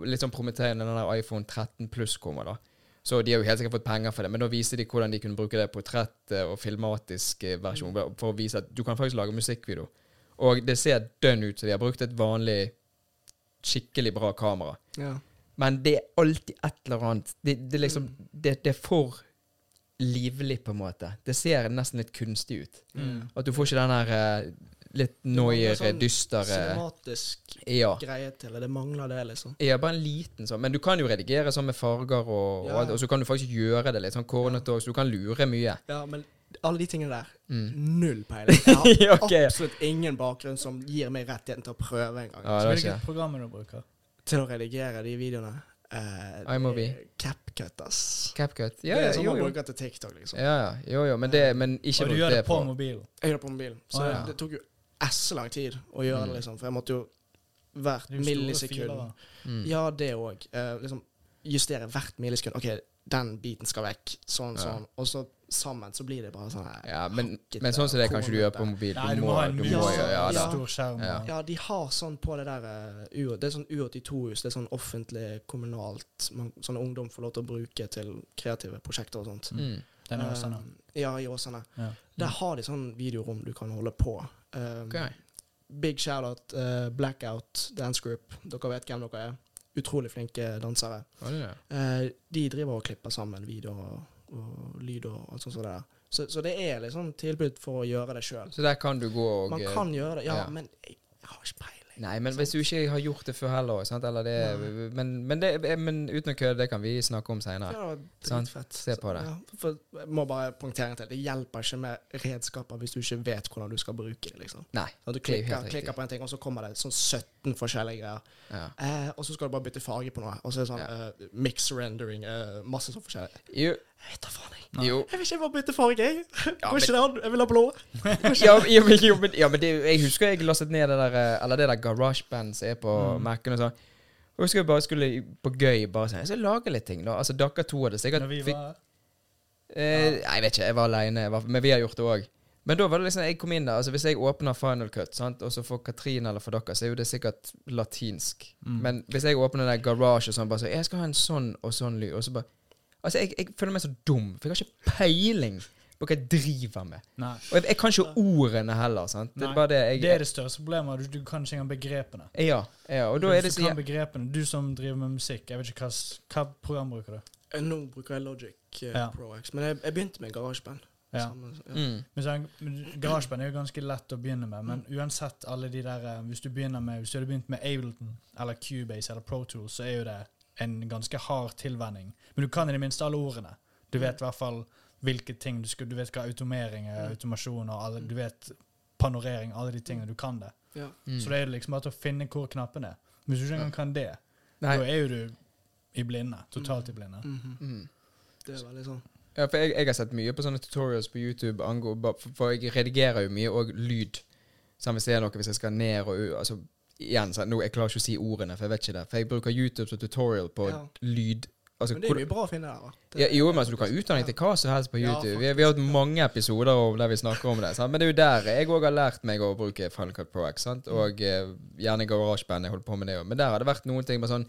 å litt sånn promettere når den der iPhone 13 pluss kommer, da. Så de har jo helt sikkert fått penger for det, men da viser de hvordan de kunne bruke det portrett- og filmatisk eh, versjon for å vise at du kan faktisk lage musikkvideo. Og det ser dønn ut, så de har brukt et vanlig, skikkelig bra kamera. Ja. Men det er alltid et eller annet. Det, det, er liksom, det, det er for livlig, på en måte. Det ser nesten litt kunstig ut. At du får ikke den her eh, litt mangler noiere, sånn dystere Cinematisk ja. greie til det. Det mangler det, liksom. ja, bare en liten sånn. Men du kan jo redigere sånn med farger og, Ja, og alt, ja. og så kan du faktisk gjøre det litt sånn kornete òg, så du kan lure mye. Ja, men alle de tingene der Mm. Null peiling. Jeg har Ok. absolutt ingen bakgrunn som gir meg rettigheten til å prøve en gang. Ja, Så det er hvilket ikke program er det du bruker? Til å redigere de videoene. Eh, det iMovie. er CapCut, ass. CapCut. Ja, det ja, er sånn jo, man jo. bruker til TikTok, liksom. Ja, ja, jo, jo, men, det, men ikke Og du bruk gjør det det på på mobilen? Jeg gjør det på mobilen, så Å, det, ja. det tok jo esse lang tid å Mm. gjøre det, liksom. For jeg måtte jo hvert Det er jo store millisekund filer. Mm. Ja, det òg. Eh, liksom justere hvert millisekund. OK, den biten skal vekk. Sånn, Ja. sånn. Og så sammen så blir det bare sånn her. Ja, men, men sånn som det kan ikke du gjøre på mobil. Nei, du må ha en du mye må, ja, ja, da. Ja. stor skjerm. Ja. og- Ja, de har sånn på det der eh, U- Det er sånn U82-hus. Det er sånn offentlig, kommunalt man, Sånn ungdom får lov til å bruke til kreative prosjekter og sånt. Mm. Den er også sånn. Eh, ja, i Åsane. Ja. Der har de sånn videorom du kan holde på. Eh, Ok. Big shout-out, eh, Blackout Dance Group. Dere vet hvem dere er. Utrolig flinke dansere. Var det det? Eh, de driver og klipper sammen videoer og, og lyd og alt sånt. som det der. Så, så det er liksom tilbud for å gjøre det sjøl. Så der kan du gå og eh, Man kan gjøre det, ja, ja. men jeg, jeg har ikke peiling. Nei, men hvis du ikke har gjort det før heller sant? Eller det, men, men, det, eh, men uten å kødde, det kan vi snakke om seinere. Ja, det var Sant? dritfett. Se på det. Ja, for, jeg må bare poengtere til. Det hjelper ikke med redskaper hvis du ikke vet hvordan du skal bruke det. liksom. Nei. Sånn, du det er jo klikker, helt klikker riktig. på en ting, og så kommer det sånn 17 forskjellige greier. Ja. Eh, og så skal du bare bytte farge på noe. Og så er det sånn Ja. eh, mix rendering, eh, masse sånn forskjellig. Jo, Jeg vet da faen, jeg. jo. Jeg vil ikke bare bytte farge, jeg. Ja, Går ikke det an? Jeg vil ha blå. Ja, ja, men, jo, men, ja, men det, jeg husker jeg lastet ned det der eh, Eller det der GarageBand som er på Mm. Mac-en. og sånn. Jeg husker jeg bare skulle på gøy bare sånn Jeg skal lage litt ting, da. Altså, dere to hadde sikkert Når vi fikk- var eh, Nei, jeg vet ikke. Jeg var aleine. Men vi har gjort det òg. Men da var det liksom Jeg kom inn der. altså Hvis jeg åpner Final Cut, sant, og så for Katrine eller for dere, så er jo det sikkert latinsk. Mm. Men hvis jeg åpner den der garasje og sånn, bare så Jeg skal ha en sånn og sånn lyd, og så bare Altså, jeg, jeg føler meg så dum, for jeg har ikke peiling på hva jeg driver med. Nei. Og jeg, jeg kan ikke ordene heller, sant? Det Nei, er bare det jeg Det er det største problemet. Du, du kan ikke engang begrepene. Ja, ja, og da Hvis er det du kan så begrepene. Du som driver med musikk, jeg vet ikke hva, s- hva program bruker du? Eh, Nå bruker jeg Logic eh, Ja. Pro X, men jeg, jeg begynte med garasjeband. Ja. Samme- ja. mm. Men sånn, men GarageBand er jo ganske lett å begynne med, men uansett alle de der eh, Hvis du begynner med Hvis du hadde begynt med Ableton eller Cubase eller Pro Mm. Tools, så er jo det en ganske hard tilvenning. Men du kan i det minste alle ordene. Du vet i hvert fall hvilke ting du skal Du vet hva automering er, Mm. automasjon og alle, du vet panorering, alle de tingene. Du kan det. Ja. Mm. Så det er liksom bare å finne hvor knappen er. Hvis du ikke engang kan det, Nei. da er jo du i blinde. Totalt i blinde. Mhm. Mm. Det er veldig sånn. Ja, for jeg, jeg har sett mye på sånne tutorials på YouTube, angå, ba- for, for jeg redigerer jo mye, og lyd. Sånn, hvis det er noe, hvis jeg skal ned og u- altså, igjen, sånn, nå, Jeg klarer ikke å si ordene, for jeg vet ikke det. For jeg bruker YouTube som tutorial på Ja. lyd. Altså, Men det er hvor- mye bra å finne der. da. Det- ja, jo, men altså, Du kan utdanne deg til hva som helst på Ja, YouTube. vi, vi har hatt mange episoder om der vi snakker om det. Sant? Men det er jo der jeg òg har lært meg å bruke Final Cut Pro X. Sant? Og eh, gjerne GarageBand. Jeg holder på med det også. Men der har det vært noen ting med sånn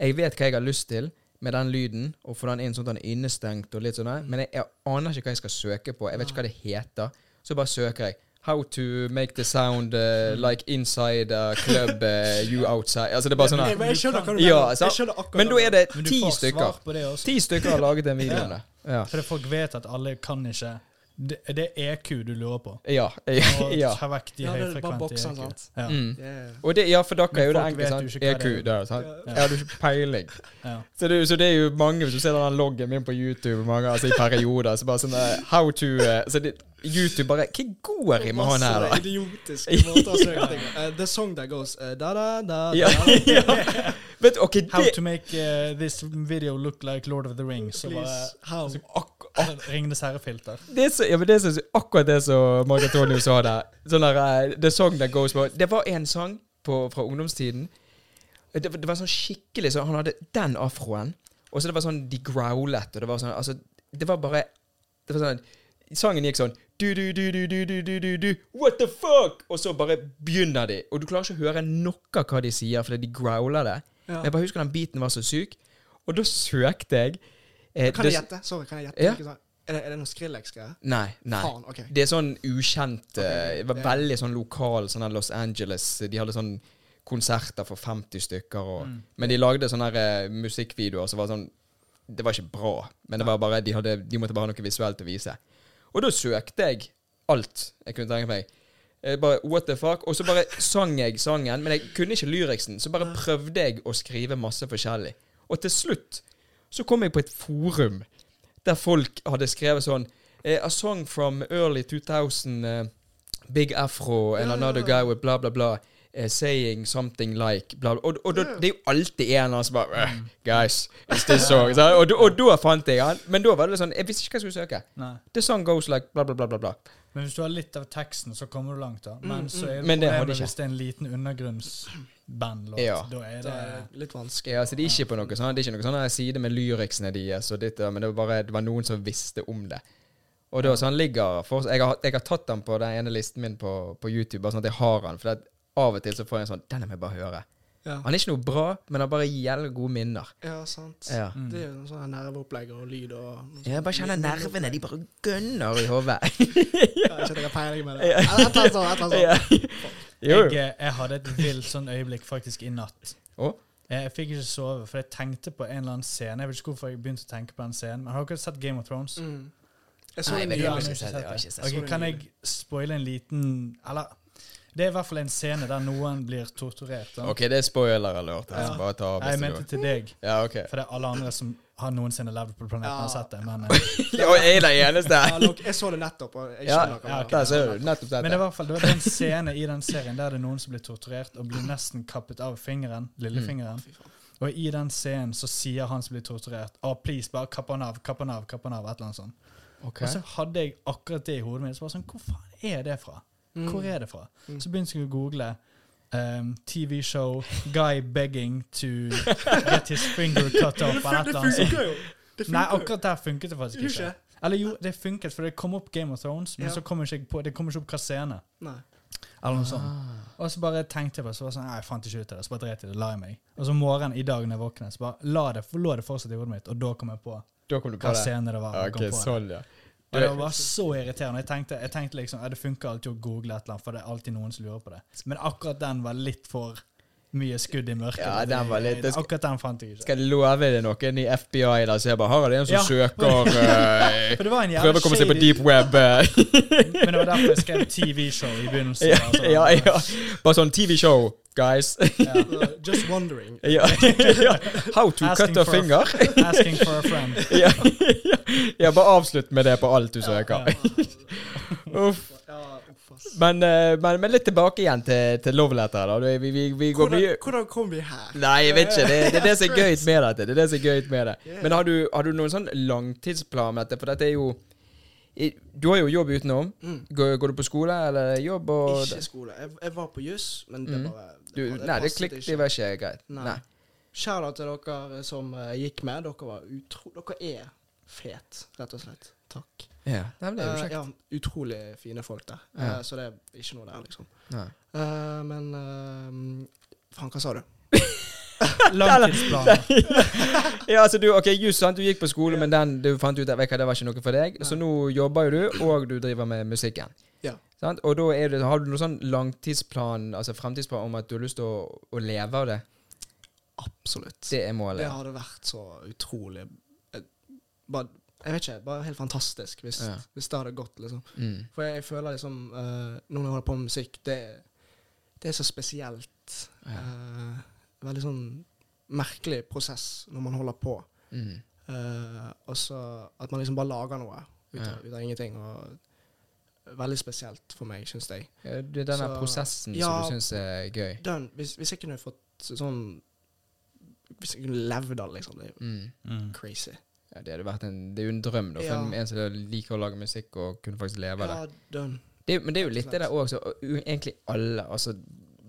Jeg vet hva jeg har lyst til med den lyden, og få den inn sånn at den er innestengt og litt sånn der, men jeg, jeg aner ikke hva jeg skal søke på. Jeg vet ikke hva det heter. Så bare søker jeg. How to make the sound eh, like inside a club, eh, you outside Altså, det er bare sånn Jeg, her. men jeg skjønner hva du Ja, mener. sant? Jeg skjønner akkurat Men da er det Men du ti får stykker. svar på det også. Ti stykker har laget den videoen. der. Ja. Fordi folk vet at alle kan ikke Det, det er EQ du lurer på. Ja. Og ja. ta vekk Ja, det de er bare høyfrekvente boksen, EQ. sant? Ja. Mm. det er- Og det, ja, for dere Men er jo det folk vet enkle. jo Sant? ikke hva EQ det er. der, sant? Ja. Jeg hadde jo ikke peiling. Ja. Så det, er jo- så det er jo mange, hvis du ser den loggen min på YouTube mange, altså i perioder, så bare sånn eh, How to eh, Så det, YouTube bare Hva går i med han her, da? Masse idiotiske måter å søke ting på. Eh, The song that goes eh, da da da Ja, da, da. ja. Vet du, OK, How det to make eh, this video look like Lord of the Rings. Så bare Please, how? så- ak Ringenes herre-filter. det er så, ja, men det er så, akkurat det som Margaret Tonio sa der. Sånn der eh, The Song That Goes By. Det var en sang på, fra ungdomstiden. Det, var- det var sånn skikkelig sånn Han hadde den afroen, og så det var sånn De growlet, og det var sånn Altså, det var bare Det var sånn Sangen gikk sånn du, du, du, du, du, du, du, du, du. What the fuck? Og så bare begynner de. Og du klarer ikke å høre noe av hva de sier, fordi de growler det. Ja. Jeg bare husker den biten var så syk. Og da søkte jeg eh, Kan jeg det- gjette? Sorry, kan jeg gjette? Ja. Ikke sant? Er, det, er det noe Skrillex-greier? Nei. nei. Faen, ok. Det er sånn ukjent eh, Ok, ok. Veldig sånn lokal sånn her Los Angeles. De hadde sånn konserter for 50 stykker. Og, Mm. Men de lagde sånne her, eh, musikkvideoer som var sånn Det var ikke bra, men det var bare, de, hadde, de måtte bare ha noe visuelt å vise. Og da søkte jeg alt jeg kunne tenke meg. Jeg bare, What the fuck? Og så bare sang jeg sangen, men jeg kunne ikke lyriksen. Så bare prøvde jeg å skrive masse forskjellig. Og til slutt så kom jeg på et forum der folk hadde skrevet sånn eh, A song from early 2000 eh, Big Afro and Ja, ja, another ja. guy with bla, bla, bla. eh, saying something like bla, bla. Og, og da, det er jo alltid en eller annen som bare eh, Guys, it's this song. Så, og, da- og da fant jeg han. Men da var det sånn Jeg visste ikke hva jeg skulle søke. Nei. The song goes like bla, bla, bla, bla, bla. Men hvis du har litt av teksten, så kommer du langt, da. Mm, Men så er det Men det har de problemet ikke. hvis det er en liten undergrunnsbandlåt. Ja. Da Det er det er litt vanskelig. Ja, altså de er ikke på noe sånn Det er ikke noe sånn her side med lyriksene deres og altså, ditt, og- men det var bare det var noen som visste om det. Og da, så han ligger for, jeg, har, jeg har tatt den på den ene listen min på, på YouTube, bare sånn at jeg har den. For det, at av og til så får jeg en sånn Den må jeg bare høre. Ja, Han er ikke noe bra, men han bare gjelder gode minner. ja sant. Ja. Det er jo noe sånn nerveopplegg og lyd og Jeg bare kjenner nervene. De bare gønner i hodet. Ja, Ikke at jeg har peiling med det. Eller Et eller annet sånt. Et eller annet sånt. Ja. Jo. Jeg, eh, jeg hadde et vilt sånn øyeblikk faktisk i natt. Å? Jeg, jeg fikk ikke sove, for jeg tenkte på en eller annen scene. Jeg vet ikke hvorfor jeg begynte å tenke på den scenen, men har dere sett Game of Thrones? Mm. Jeg så Nei, en men ny jeg har en. ikke sett det. liksom- Jeg har ikke sett det. Ok, kan jeg spoile en liten Eller det er i hvert fall en scene der noen blir torturert. sant? OK, det er spoiler alert. Altså, bare ta av Nei, jeg hvis mente du til deg, Ja, OK. for det er alle andre som har noensinne levd på planeten, Ja. har sett det. Men, eh, Og jeg er den eneste. Ja, look, jeg så det nettopp, og jeg Ja, skjønner hva det der ser du. Nettopp men det er i dette. hvert fall det var en scene i den serien der det er noen som blir torturert og blir nesten kappet av fingeren, lillefingeren. Mm. Fy faen. Og i den scenen så sier han som blir torturert, oh, please, bare kapp han av, kapp han av, kapp han av, et eller annet sånt. Ok. Og så hadde jeg akkurat det i hodet mitt. Så var jeg sånn, Hvor faen er det fra? Hvor er det fra? Mm. Så begynte jeg å google ehm, TV-show 'Guy begging to get his finger cut off' eller et eller annet sånt. jo. Det altså. Nei, funker jo. akkurat der funket det faktisk Gjorde ikke. ikke? Eller jo, det funket, for det kom opp Game of Thrones, men Ja. så kom ikke jeg på, det kom ikke opp hva scene. Nei. Eller noe sånt. Ah. Og så bare tenkte jeg på det, så var jeg sånn, nei, jeg fant ikke ut av det, så bare dreit jeg det, la jeg meg. Og så morgenen i dag når jeg våknet, så bare la det, lå det fortsatt i hodet mitt, og da kom jeg på Da kom du på hva det. scene det var. jeg Ok, kom på det. sånn, ja. Og det var så irriterende. Jeg tenkte, jeg tenkte liksom, ja, Det funker alltid å google et eller annet, for det er alltid noen som lurer på det. Men akkurat den var litt for mye skudd i mørket. Ja, den var litt- det sk- Akkurat den fant jeg ikke. Skal jeg love deg noen i FBI der som jeg bare har det er en som Ja. søker eh, For det var en jævla Prøver å komme seg på shady- deep web. eh, Men det var derfor jeg skrev TV-show i begynnelsen. ja, altså. ja, ja. Bare sånn TV-show. guys. Ja. Uh, just wondering. ja. ja. How to Asking cut a for a- finger. Asking for a friend. ja. ja, bare avslutt med det på alt du søker. Uff. Ja, uff, ass. Men, eh, men, men litt tilbake igjen til, til love letter. da. Du, Vi, vi, vi går Hvordan, mye hvordan kom vi her? Nei, jeg vet ikke. Det, det er det som er gøy med dette. Det er det som er gøy med det. Yeah. Men har du, har du noen sånn langtidsplan med dette? For dette er jo i- Du har jo jobb utenom. Mm. Går, går du på skole eller jobb? Og Ikke skole. Jeg, jeg var på juss, men det Mm. bare du, bare- nei, det passet klikket ikke. det var ikke greit. Nei. Nei. Kjære til dere som eh, gikk med. Dere var utro... Dere er fet, rett og slett. Takk. Ja. Nei, men det er jo Eh, kjekt. ja, utrolig fine folk der. Eh, Ja. så det er ikke noe der, liksom. Nei. Eh, men eh, Faen, hva sa du? Langtidsplaner. Ja, altså du, ok, just sant, du gikk på skole, men den du fant ut at vet du hva, det var ikke noe for deg. Så nå jobber jo du, og du driver med musikken. Ja. Sant? Og da er det, har du noen sånn langtidsplan, altså fremtidsplan om at du har lyst til å, å leve av det? Absolutt. Det er målet. Det hadde vært så utrolig eh, bare, Jeg vet ikke, bare helt fantastisk hvis, Ja. hvis det hadde gått, liksom. Mm. For jeg, jeg føler liksom eh, Når jeg holder på med musikk, det, det er så spesielt. Ja. Eh, veldig sånn merkelig prosess når man holder på. Mm. Eh, og så at man liksom bare lager noe ut av, ut av ingenting. Og veldig spesielt for meg, syns jeg. Ja, Det er denne Så- prosessen Ja. som du syns er gøy. Den, hvis, hvis jeg kunne fått sånn Hvis jeg kunne levd av det, liksom. Det er Mm. Mm. jo crazy. Ja, det, hadde vært en, det er jo en drøm da, for Ja. en som liker å lage musikk og kunne faktisk leve av det. Ja, den. det. Men det er jo litt det der òg, egentlig alle altså,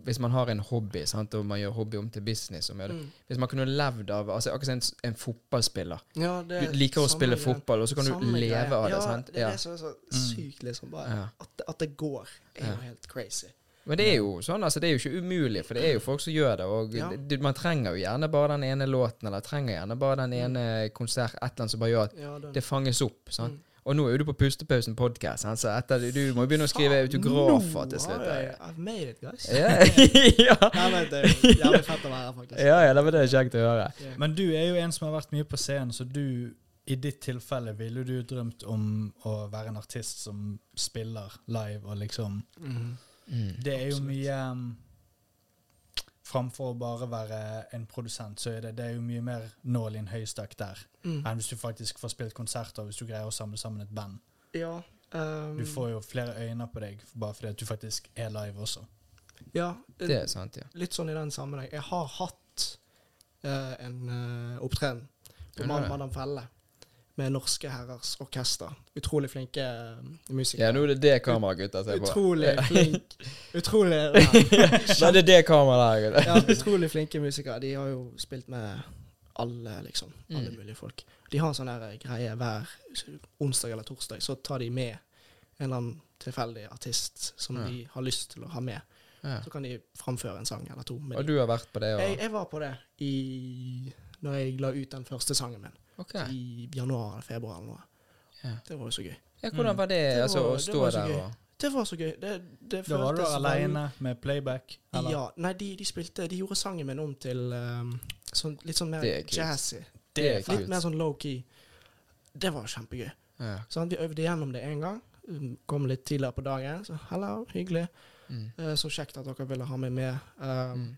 Hvis man har en hobby, sant, og man gjør hobby om til business og man gjør det Mm. Hvis man kunne levd av altså Akkurat som en, s- en fotballspiller. Ja, det er Du liker å samme spille greien. fotball, og så kan du Samme leve greie. av det. ja, sant? Det er Ja. det som er så Mm. sykt, liksom. Bare, Ja. at, det- at det går, er Ja. jo helt crazy. Men det er jo sånn, altså, det er jo ikke umulig, for det er jo folk som gjør det. Og Ja. du, man trenger jo gjerne bare den ene låten, eller trenger gjerne bare Mm. den ene konsert, et eller annet som bare gjør at Ja, den. det fanges opp. sant? Mm. Og nå er jo du på Pustepausen podkast, så etter, du må jo begynne å skrive autografer til slutt. Ja. I've made it, guys. Ja, ja, Nei, men det er jo jævlig fett å være her, faktisk. ja, ja, det var det kjekt å høre. Ja. Men du er jo en som har vært mye på scenen, så du i ditt tilfelle ville du drømt om å være en artist som spiller live og liksom Mhm. Mm. Det er jo Absolutt. mye um, Framfor å bare være en produsent, så er det, det er jo mye mer nål i en høystakk der Mm. enn hvis du faktisk får spilt konserter, hvis du greier å samle sammen et band. Ja. ehm, Du får jo flere øyne på deg bare fordi at du faktisk er live også. ja, Det er sant, ja. litt sånn i den sammenheng. Jeg har hatt eh, en eh, opptreden på Ja, det Mann, er. Madam Felle med Norske Herrers Orkester. Utrolig flinke eh, Ja, musikere. nå er det det kameraet gutta ser på. Utrolig flink Utrolig Nei, det er det kameraet der, gutta. ja, Utrolig flinke musikere. De har jo spilt med alle, liksom. Alle Mm. mulige folk. De har en sånn der greie hver onsdag eller torsdag, så tar de med en eller annen tilfeldig artist som Ja. de har lyst til å ha med. Ja. Så kan de framføre en sang eller to. med Og de. du har vært på det? Og... Jeg, jeg var på det i Når jeg la ut den første sangen min. Ok. I januar eller februar eller noe. Ja. Det var jo så gøy. Ja, hvordan var det, Mm. Det altså, var- å det stå var så der gøy. og Det var så gøy. Det, det Da var du vel- aleine med playback? Eller? Ja. Nei, de, de spilte De gjorde sangen min om til ehm, sånn, litt sånn mer Det er kult. jazzy. Det er Litt kult. mer sånn low-key. Det var kjempegøy. Ja. Sant? vi øvde gjennom det én gang. um, Kom litt tidligere på dagen. Så hello, hyggelig. Mm. Eh, Så kjekt at dere ville ha meg med. Um, Mm.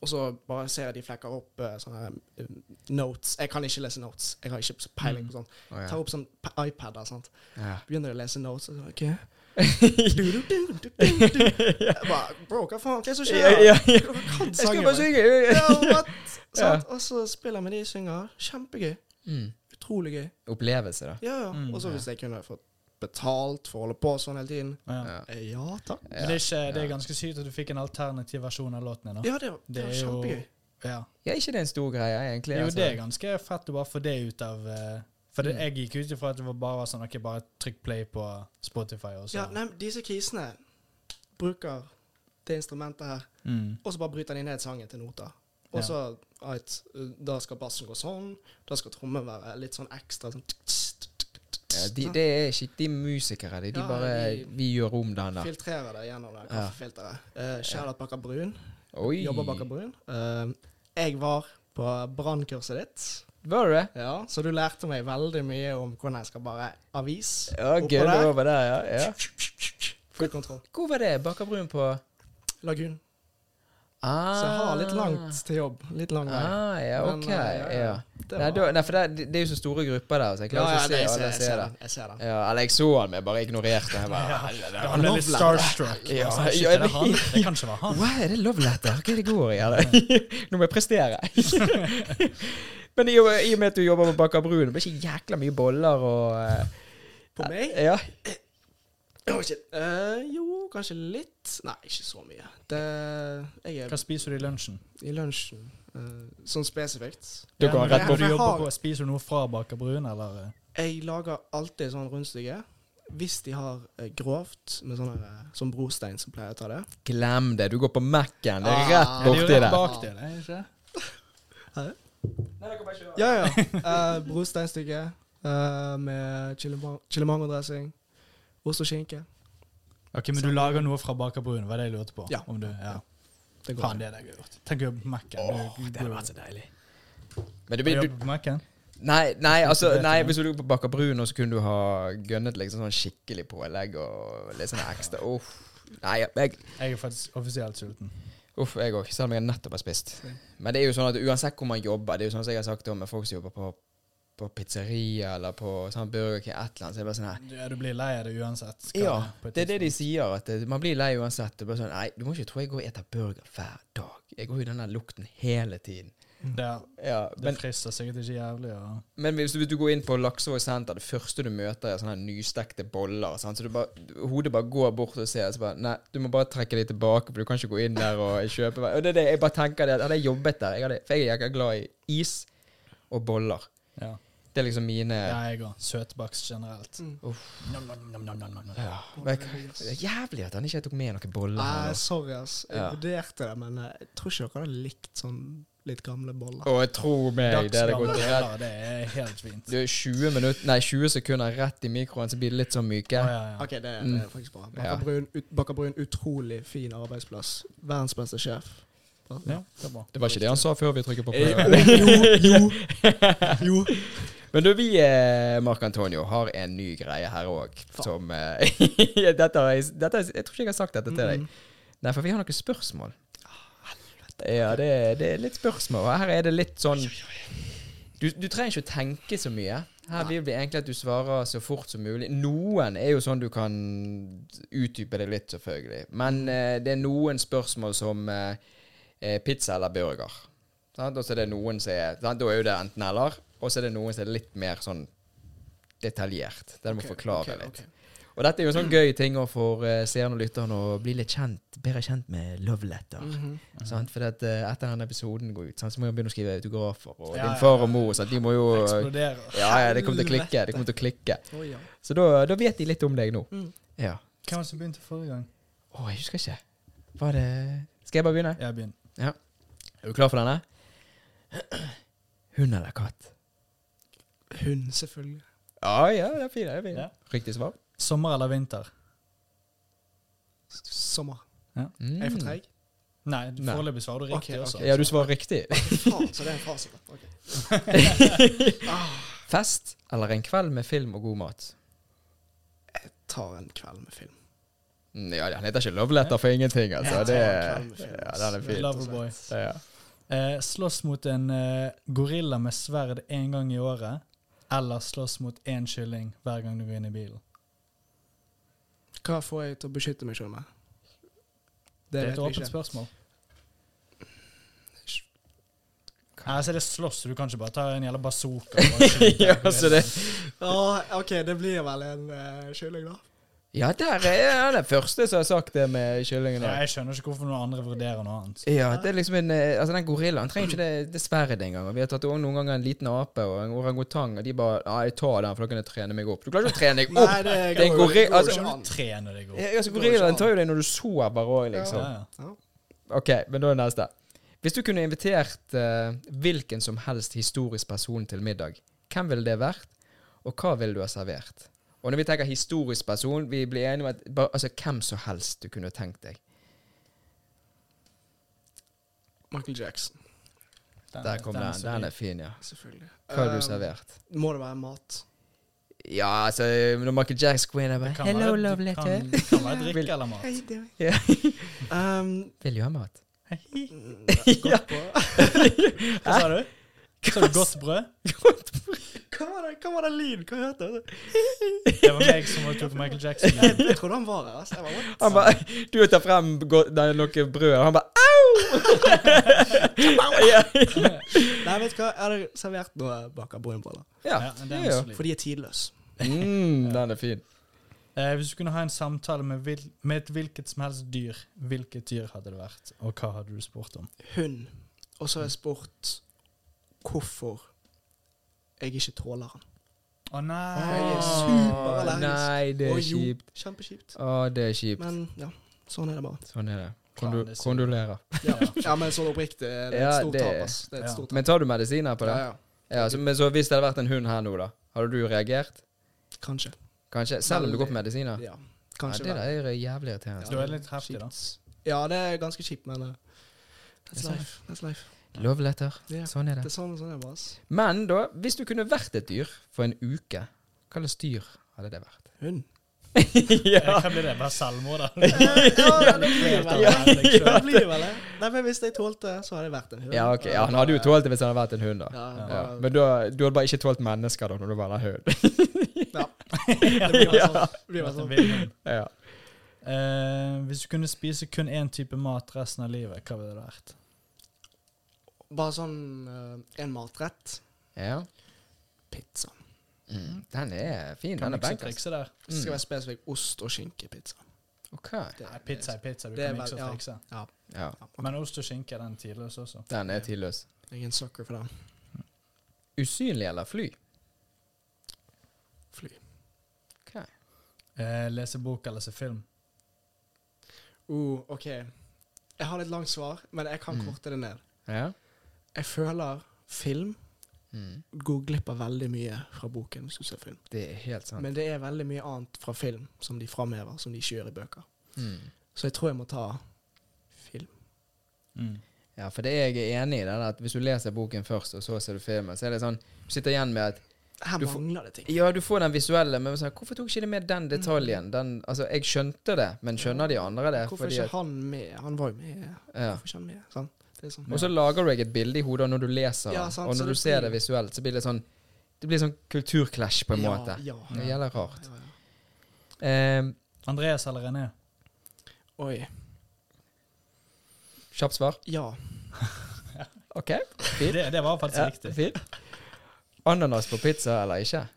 Og så bare ser jeg de flekker opp eh, sånne eh, notes. Jeg kan ikke lese notes. Jeg har ikke peiling på sånt. Å, Mm. ja. Tar opp sånn p- iPad der, sant. Ja. Begynner å lese notes. Og så, ok. du, du, du, du, du, du. Jeg bare, Bro, hva faen? Hva er det som skjer? Ja, ja, ja. Dere kan Jeg skulle sangen bare min. synge! Ja, what? Ja. Sant? Og så spiller vi de synger. Kjempegøy. Mm. Utrolig gøy. Opplevelse, da. Ja, ja. Mm. og så hvis jeg kunne fått betalt for å holde på sånn hele tiden Ja. Ja. eh, Ja takk. Men Det, er ikke, det er ganske sykt at du fikk en alternativ versjon av låten din. da. Ja, det var, det Det var er jo kjempegøy. ja. Ja, ikke det er en stor greie, egentlig. Jo, altså. det er ganske fett å bare få det ut av eh, For det, Mm. jeg gikk ut ifra at det var bare var sånn OK, bare trykk play på Spotify, og så Ja, nei, men disse krisene bruker det instrumentet her, Mm. og så bare bryter de ned sangen til noter. Og Ja. så at eh, da skal bassen gå sånn, da skal trommen være litt sånn ekstra sånn Ja, de, det er ikke de musikere, de, de Ja, bare de- Vi gjør om den der. Filtrerer det gjennom det Ja. kaffefilteret. Eh, Charlotte Bakker Brun Oi! jobber Bakker Brun. Eh, jeg var på brannkurset ditt. Var du det? Ja, så du lærte meg veldig mye om hvordan jeg skal bare avis Ja, oppå gøy, det der. var bare der, ja. ja. Full kontroll. Hvor var det? Bakker Brun på Lagun. Ah. Så jeg har litt langt til jobb. Litt lang vei. Ah, ja, Men, ok. eh, ja. Det var- Nei, da, nei, for det, det er jo så store grupper der, så jeg klarer nei, ikke å se alle jeg, se ser det. den. Jeg ser den. Ja, eller jeg så han, men jeg bare ignorerte han. Jeg bare, helvete, Ja, Han ble litt starstruck. Ja, Altså, shit, ja, er det, han? det kan ikke være han. Hva er det love letter? Hva er det går i? Eller? Nå må jeg prestere. Men i og, i og med at du jobber på Baker Brun, det blir ikke jækla mye boller og eh, På meg? Ja. Å, shit. Eh, jo, kanskje litt. Nei, ikke så mye. Det, jeg Hva er spiser du i lunsjen? i lunsjen. eh, sånn spesifikt. Da går Ja, han men rett det på er du Jeg jobber har- på, Spiser du noe fra Baker Brun, eller? eh? Jeg lager alltid sånn rundstykke. Hvis de har eh, grovt, med sånn her, eh, sånn brostein som pleier å ta det. Glem det. Du går på Mac-en. Det er Ah, rett ja, Ja, det er borti jo rett der. bak det, det er ikke? Ja, ja. Eh, brosteinstykke eh, med chilima- chilimango-dressing. Ost og skinke. Ok, Men du lager noe fra Baker Brun, var det jeg lurte på? Ja. Om du, ja. Det går. Faen, det er det jeg har gjort. Tenk å jobbe på Mac-en. Du- du- så deilig. Men du, du blir- du, jobber på Mac-en? Nei, nei, altså, Inkludert nei i det. hvis du lå på Bakker Brun, og så kunne du ha gønnet liksom sånn skikkelig pålegg og litt sånn ekstra Uff. Nei, jeg Jeg er faktisk offisielt sulten. Uff, jeg òg. Selv om jeg nettopp har spist. Men det er jo sånn at uansett hvor man jobber Det er jo sånn som jeg har sagt om med folk som jobber på, på pizzeria eller på sånn Burger King, et eller annet, så er det bare sånn her Du, ja, du blir lei av det uansett. skal Ja, på et det er det de tidspunkt. sier. At det, man blir lei uansett. Det er bare sånn Nei, du må ikke tro jeg går og eter burger hver dag. Jeg går jo i den der lukten hele tiden. Det, er- Ja, det men frister sikkert ikke jævlig. Og Men hvis, hvis du går inn på Laksevåg senter, det første du møter er sånne her nystekte boller. Sant? Så du bare, hodet bare går bort og ser. Så bare, nei, du må bare trekke deg tilbake, for du kan ikke gå inn der og kjøpe. Og det er det jeg bare tenker det, at Hadde jeg jobbet der jeg hadde, For jeg er jækla glad i is og boller. ja. Det er liksom mine Ja, jeg òg. Søtbakst generelt. Mm. Nom, nom, nom, nom, nom, nom. ja. Men jeg- Det er jævlig at han ikke tok med noen boller. her altså. Nei, nå. sorry, ass. Jeg Ja. vurderte det, men eh, jeg tror ikke dere hadde likt sånn litt gamle boller. Og tro meg, det hadde Dagsgamle gått rett boller, det er helt fint. Du er 20, minutter, nei, 20 sekunder rett i mikroen, så blir det litt sånn myke. Å, ja, ja. OK, det, det Mm. er faktisk bra. Ja. Bakker Brun, ut, Bakker Brun utrolig fin arbeidsplass. Verdens beste sjef. ja, det er bra. Det var ikke det han sa før vi trykket på play. Eh, jo, jo, jo. Men du, vi, eh, Mark Antonio, har en ny greie her òg, som eh, dette, har jeg- dette, har jeg- Jeg tror ikke jeg har sagt dette til deg. Nei, for vi har noen spørsmål. Ah, Ja, det, er- det er litt spørsmål. og Her er det litt sånn Du, du trenger ikke å tenke så mye. Her vil vi egentlig at du svarer så fort som mulig. Noen er jo sånn du kan utdype det litt, selvfølgelig. Mm. Men eh, det er noen spørsmål som eh, eh, pizza eller burger. Sant? Og så er det noen som er sant? Da er jo det enten-eller, og så er det noen som er litt mer sånn detaljert. Der du må forklare ok, litt. ok. Og dette er jo en sånn gøy ting også for eh, seerne og lytterne å bli litt kjent, bedre kjent med love letter. Mm. Mhm. sant? For at, eh, etter denne episoden går ut, sant, så må jeg begynne å skrive autografer. Og Ja, din ja, far ja. og mor sant? De må jo Eksploderer. ja, ja, det kommer til å klikke. Det kommer til å klikke. Å, ja. Så da, da vet de litt om deg nå. Mm. Ja. Hvem var det som begynte forrige gang? Å, jeg husker ikke. Var det Skal jeg bare begynne? Jeg begynner. Er du klar for denne? Hund eller katt? Hun, selvfølgelig. Ja, ja, det er fint. Det er fint. Ja. Riktig svar. Sommer eller vinter? S- Sommer. Mm. Er jeg for treig? Nei, Nei. foreløpig svarer du riktig Ok, ok. også. Ja, du svarer riktig. Faen, så det er en fasit. Ok. Fest eller en kveld med film og god mat? Tar en kveld med film. Mm, Ja, Han heter ikke Love Letter for ingenting, altså. Ja, Det, ta en kveld med film, ja, altså. den er fin. Loverboy. Ja. Eh, slåss mot en eh, gorilla med sverd én gang i året, eller slåss mot én kylling hver gang du går inn i bilen. Hva får jeg til å beskytte meg selv med? Det Det er et vet vi åpent ikke. spørsmål. Nei, altså det er slåss, du kan ikke bare ta en jævla bazooka. og bare skyte ja, en gorilla. så det, Ja, OK, det blir vel en uh, kylling, da. ja, der er den første som har sagt det med kyllingen. Ja, der. jeg skjønner ikke hvorfor noen andre vurderer noe annet. Ja, det er liksom en, eh, altså den gorillaen trenger ikke det, det sverdet engang. Og Vi har tatt også noen ganger en liten ape og en orangutang, og de bare Ja, jeg tar den, for da kan jeg trene meg opp. Du klarer ikke å trene deg opp! det Det er en gorilla- går jo altså- ikke Du an. trener deg opp. Ja, altså, gorillaen tar jo deg når du sover òg, liksom. Ja, ja. Ja. Ok, men da er det neste. Hvis du kunne invitert eh, hvilken som helst historisk person til middag, hvem ville det vært, og hva ville du ha servert? Og når vi tenker historisk person, vi blir enige om at bare, altså, hvem som helst du kunne tenkt deg. Michael Jackson, Den- Der kom den. så Den fin. er fin, ja. selvfølgelig. Hva ville Um, du servert? Må det være mat? Ja, altså, når Michael Jackson går inn og Det bare kan Hello, være- love det letter. Kan, kan være drikke eller mat. doing? Ja. Um, Vil du ha mat? Ja. Godt brød. Hva sa du? Sa du godt brød? Hva var det, hva var det lyd? Hva hørte jeg? Det var meg som var på Michael Jackson. Jeg, jeg trodde han var her. Altså. Jeg bare, Han bare Du tar frem go- nei, noe brød, og han bare au! ja, Nei, vet du hva? Jeg hadde servert noe baka boinboller. "Ah, ja. Ja, den er ja. solid. For de er tidløse. Mm, den er fin. Eh, hvis du kunne ha en samtale med, vil, med et hvilket som helst dyr, hvilket dyr hadde det vært, og hva hadde du spurt om? Hund. Og så har jeg spurt hvorfor jeg ikke tåler han. Å nei! Eh, Jeg er Å, superallergisk. Nei, det Og er jo, kjipt. Kjempekjipt. Å, det er kjipt. Men ja, sånn er det bare. Sånn er det. Faen, Kondu det er synd. kondolerer. Ja, men sånn oppriktig, det er et Ja, stort det- tap, ass. Det er et ja. stort tap. Men tar du medisiner på det? Ja, Ja, ja. så, men så hvis det hadde vært en hund her nå, da? Hadde du reagert? Kanskje. Kanskje? Selv om du går på medisiner? Ja, Ja, kanskje det vel. der er jævlig irriterende. Du er litt heftig, da. Ja, det er ganske kjipt, men eh, that's That's life. That's life. Love letter. Ja. Sånn er Det det. er sånn, sånn er det bare, ass. Men da, hvis du kunne vært et dyr for en uke, hva slags dyr hadde det vært? Hund. Eh, Hva blir det? Bare selvmord, da? Ja, det blir vel det. Liksom. Det blir vel det. Nei, men hvis jeg tålte, så hadde jeg vært en hund. Ja, ok. Ja, han hadde jo tålt det hvis han hadde vært en hund, da. Ja, Ja. Ja. bare- Men da, du hadde bare ikke tålt mennesker da, når du var en hund. Ja. Det blir bare sånn. Det blir bare At det sånn. blir noen. ja. Eh, hvis du kunne spise kun én type mat resten av livet, hva ville det vært? Bare sånn eh, en matrett. ja. Pizza. Mm. Den er fin. Kan Den er mikse og bankers. trikse der? Det Mm. skal være spesifikk ost og skinkepizza. Ok. Det- Nei, pizza er pizza. Du Det er kan mikse vel- og ja. trikse. Ja. Ja. ja. Men ost og skinke er den tidløs også. Den er tidløs. Jeg er en sucker for den. Usynlig eller fly? Fly. Ok. Eh, lese bok eller se film? Uh, OK. Jeg har litt langt svar, men jeg kan Mm. korte det ned. Ja. Jeg føler film Mm. går glipp av veldig mye fra boken hvis du ser film. Det er helt sant. Men det er veldig mye annet fra film som de framhever, som de ikke gjør i bøker. Mm. Så jeg tror jeg må ta film. Mm. Ja, for det jeg er enig i, det er at hvis du leser boken først, og så ser du filmen, så er det sånn Du sitter igjen med at Her Du får- mangler det ting. Ja, du får den visuelle, men sånn, hvorfor tok ikke de med Mm. den detaljen? Den, altså, jeg skjønte det, men skjønner de andre det? Hvorfor er ikke han med? Han var jo med. at, ja. Hvorfor er ikke han med? Sånn. Det er sånn. Og så lager du deg et bilde i hodet når du leser Ja, den, sant, og så når du det ser blir- det visuelt, så blir det sånn Det blir sånn kulturclash på en Ja, måte. ja. Det gjelder rart. Ja, ja. Eh, Andreas eller René? Oi. Kjapt svar. Ja. OK. Fint. Det, det var faktisk Ja, riktig. fint. Ananas på pizza eller ikke?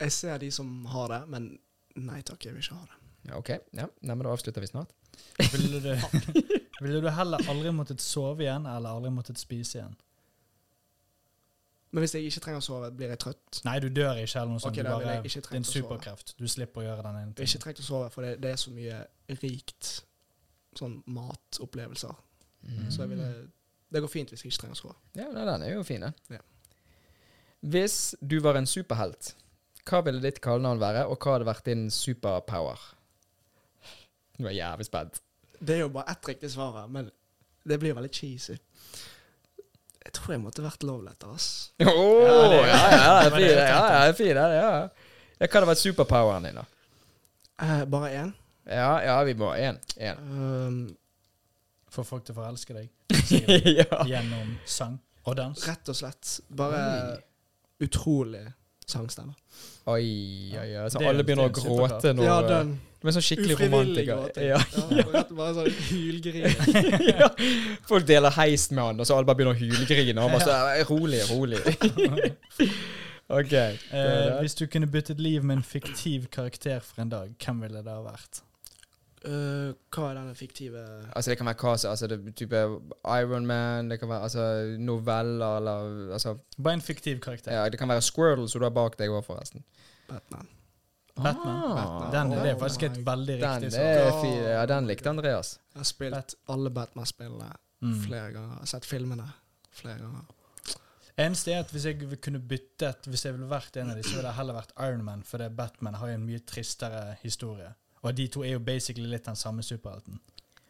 Jeg ser de som har det, men nei takk, jeg vil ikke ha det. Ja, OK. Ja. Nei, men da avslutter vi snart. Ville du, ville du heller aldri måttet sove igjen, eller aldri måttet spise igjen? Men hvis jeg ikke trenger å sove, blir jeg trøtt. Nei, du dør ikke, eller noe sånt. Ok, du da ville bare, jeg ikke det er en trengt å sove. superkreft. Du slipper å gjøre den ene Jeg har ikke tingen. trengt å sove, for det, det er så mye rikt sånn matopplevelser. Mm. Så jeg ville Det går fint hvis jeg ikke trenger å sove. Ja, nei, den er jo fin, den. Ja. Hvis du var en superhelt, hva ville ditt kallenavn være, og hva hadde vært din superpower? Nå er jeg jævlig spent. Det er jo bare ett riktig svar her, men det blir veldig cheesy. Jeg tror jeg måtte vært lovletter, ass. Åh, Ja, det- ja, ja, det er det var det fin, jeg ja, ja, det er fin, ja, ja. Ja, Hva hadde vært superpoweren din, da? Eh, bare én. Ja, ja, vi må én. Én. Um, Få folk til å forelske deg. sikkert, ja. Gjennom sang og dans. rett og slett. Bare utrolig sangstemme. Oi, oi, oi. Så Det er alle jo- begynner å det er jo gråte nå. Ja, den Du er sånn skikkelig ufrivillige romantiker. gråten. Ja. bare, bare sånn hylgrin. ja. Folk deler heis med han, og så alle bare begynner å hylgrine. Og han bare så Rolig, rolig. OK. det Eh, er det. hvis du kunne byttet liv med en fiktiv karakter for en dag, hvem ville det ha vært? Eh, hva er denne fiktive Altså Det kan være hva som altså, det, type Iron Man, det kan være altså, noveller eller altså, Bare en fiktiv karakter. ja, Det kan være Squirrel som du har bak deg òg, forresten. Batman? Batman. Ah. Batman. Den er det Oh faktisk et my- veldig Den riktig svar. er fin. Ja, den likte Andreas. Jeg har spilt alle Batman-spillene Mm. flere ganger. Jeg har sett filmene flere ganger. Eneste er at hvis jeg kunne byttet Hvis jeg ville vært en av dem, så ville jeg heller vært Iron Man, for det Batman har jo en mye tristere historie. Og de to er jo basically litt den samme superhelten.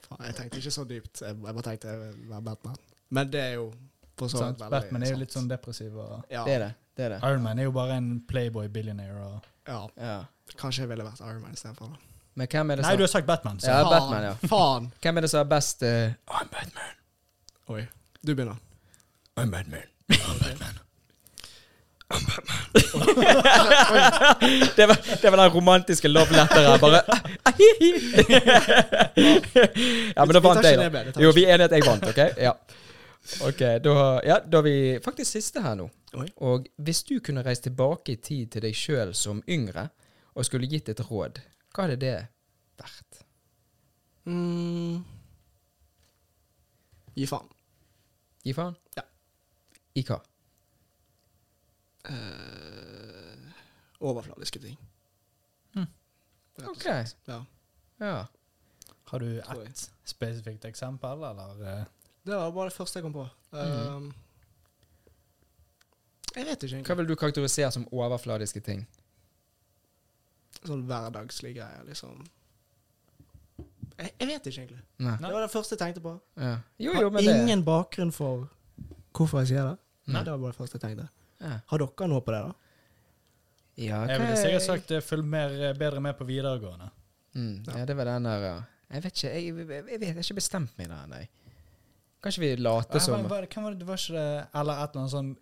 Faen, jeg tenkte ikke så dypt. Jeg, jeg bare tenkte jeg ville være Batman. Men det er jo for så Sant? vidt veldig Batman er jo sant. litt sånn depressiv, og ja, Det er det. det, er det. Iron Man er jo bare en playboy billionaire. Og ja, Ja. kanskje jeg ville vært Iron Man istedenfor. da. Men hvem er det Nei, som du har sagt Batman. Så. Ja, Batman, ja. Faen! Hvem er det som har best eh, I'm Batman. Oi. Du begynner. I'm Batman. det, var, det var den romantiske love letteren. Bare Ja, men da Vi tar vant jeg, ikke da. det mer, det tar Jo, vi vi er enige at jeg vant, OK? Ja. Ok, Da ja, da er vi faktisk siste her nå. Oi. Og hvis du kunne reist tilbake i tid til deg sjøl som yngre og skulle gitt et råd, hva hadde det vært? Mm. Gi faen. Gi faen? Ja. I hva? Eh, Overfladiske ting. Rett og Ok. slett. Ja. Ja. Har du Tror jeg. ett spesifikt eksempel, eller? eh? Det var bare det første jeg kom på. Um, jeg vet ikke Hva egentlig. vil du karakterisere som overfladiske ting? Sånn hverdagslige greier, liksom. Jeg, jeg vet ikke egentlig. Nei. Nei. Det var det første jeg tenkte på. Ja. Jo, jo, men Har det ingen bakgrunn for hvorfor jeg sier det. Nei. Nei. Det var bare det første jeg tenkte. Ja. Har dere noe på det, da? Ja, Jeg ville hva- sikkert sagt eh, følg mer, bedre med på videregående. mm, Ja, det var den der, ja. Jeg vet ikke, jeg, jeg, jeg, vet, jeg har ikke bestemt meg der, nei. Kanskje vi later Hva som var, det- hvem var det, det var ikke det Eller et eller annet sånn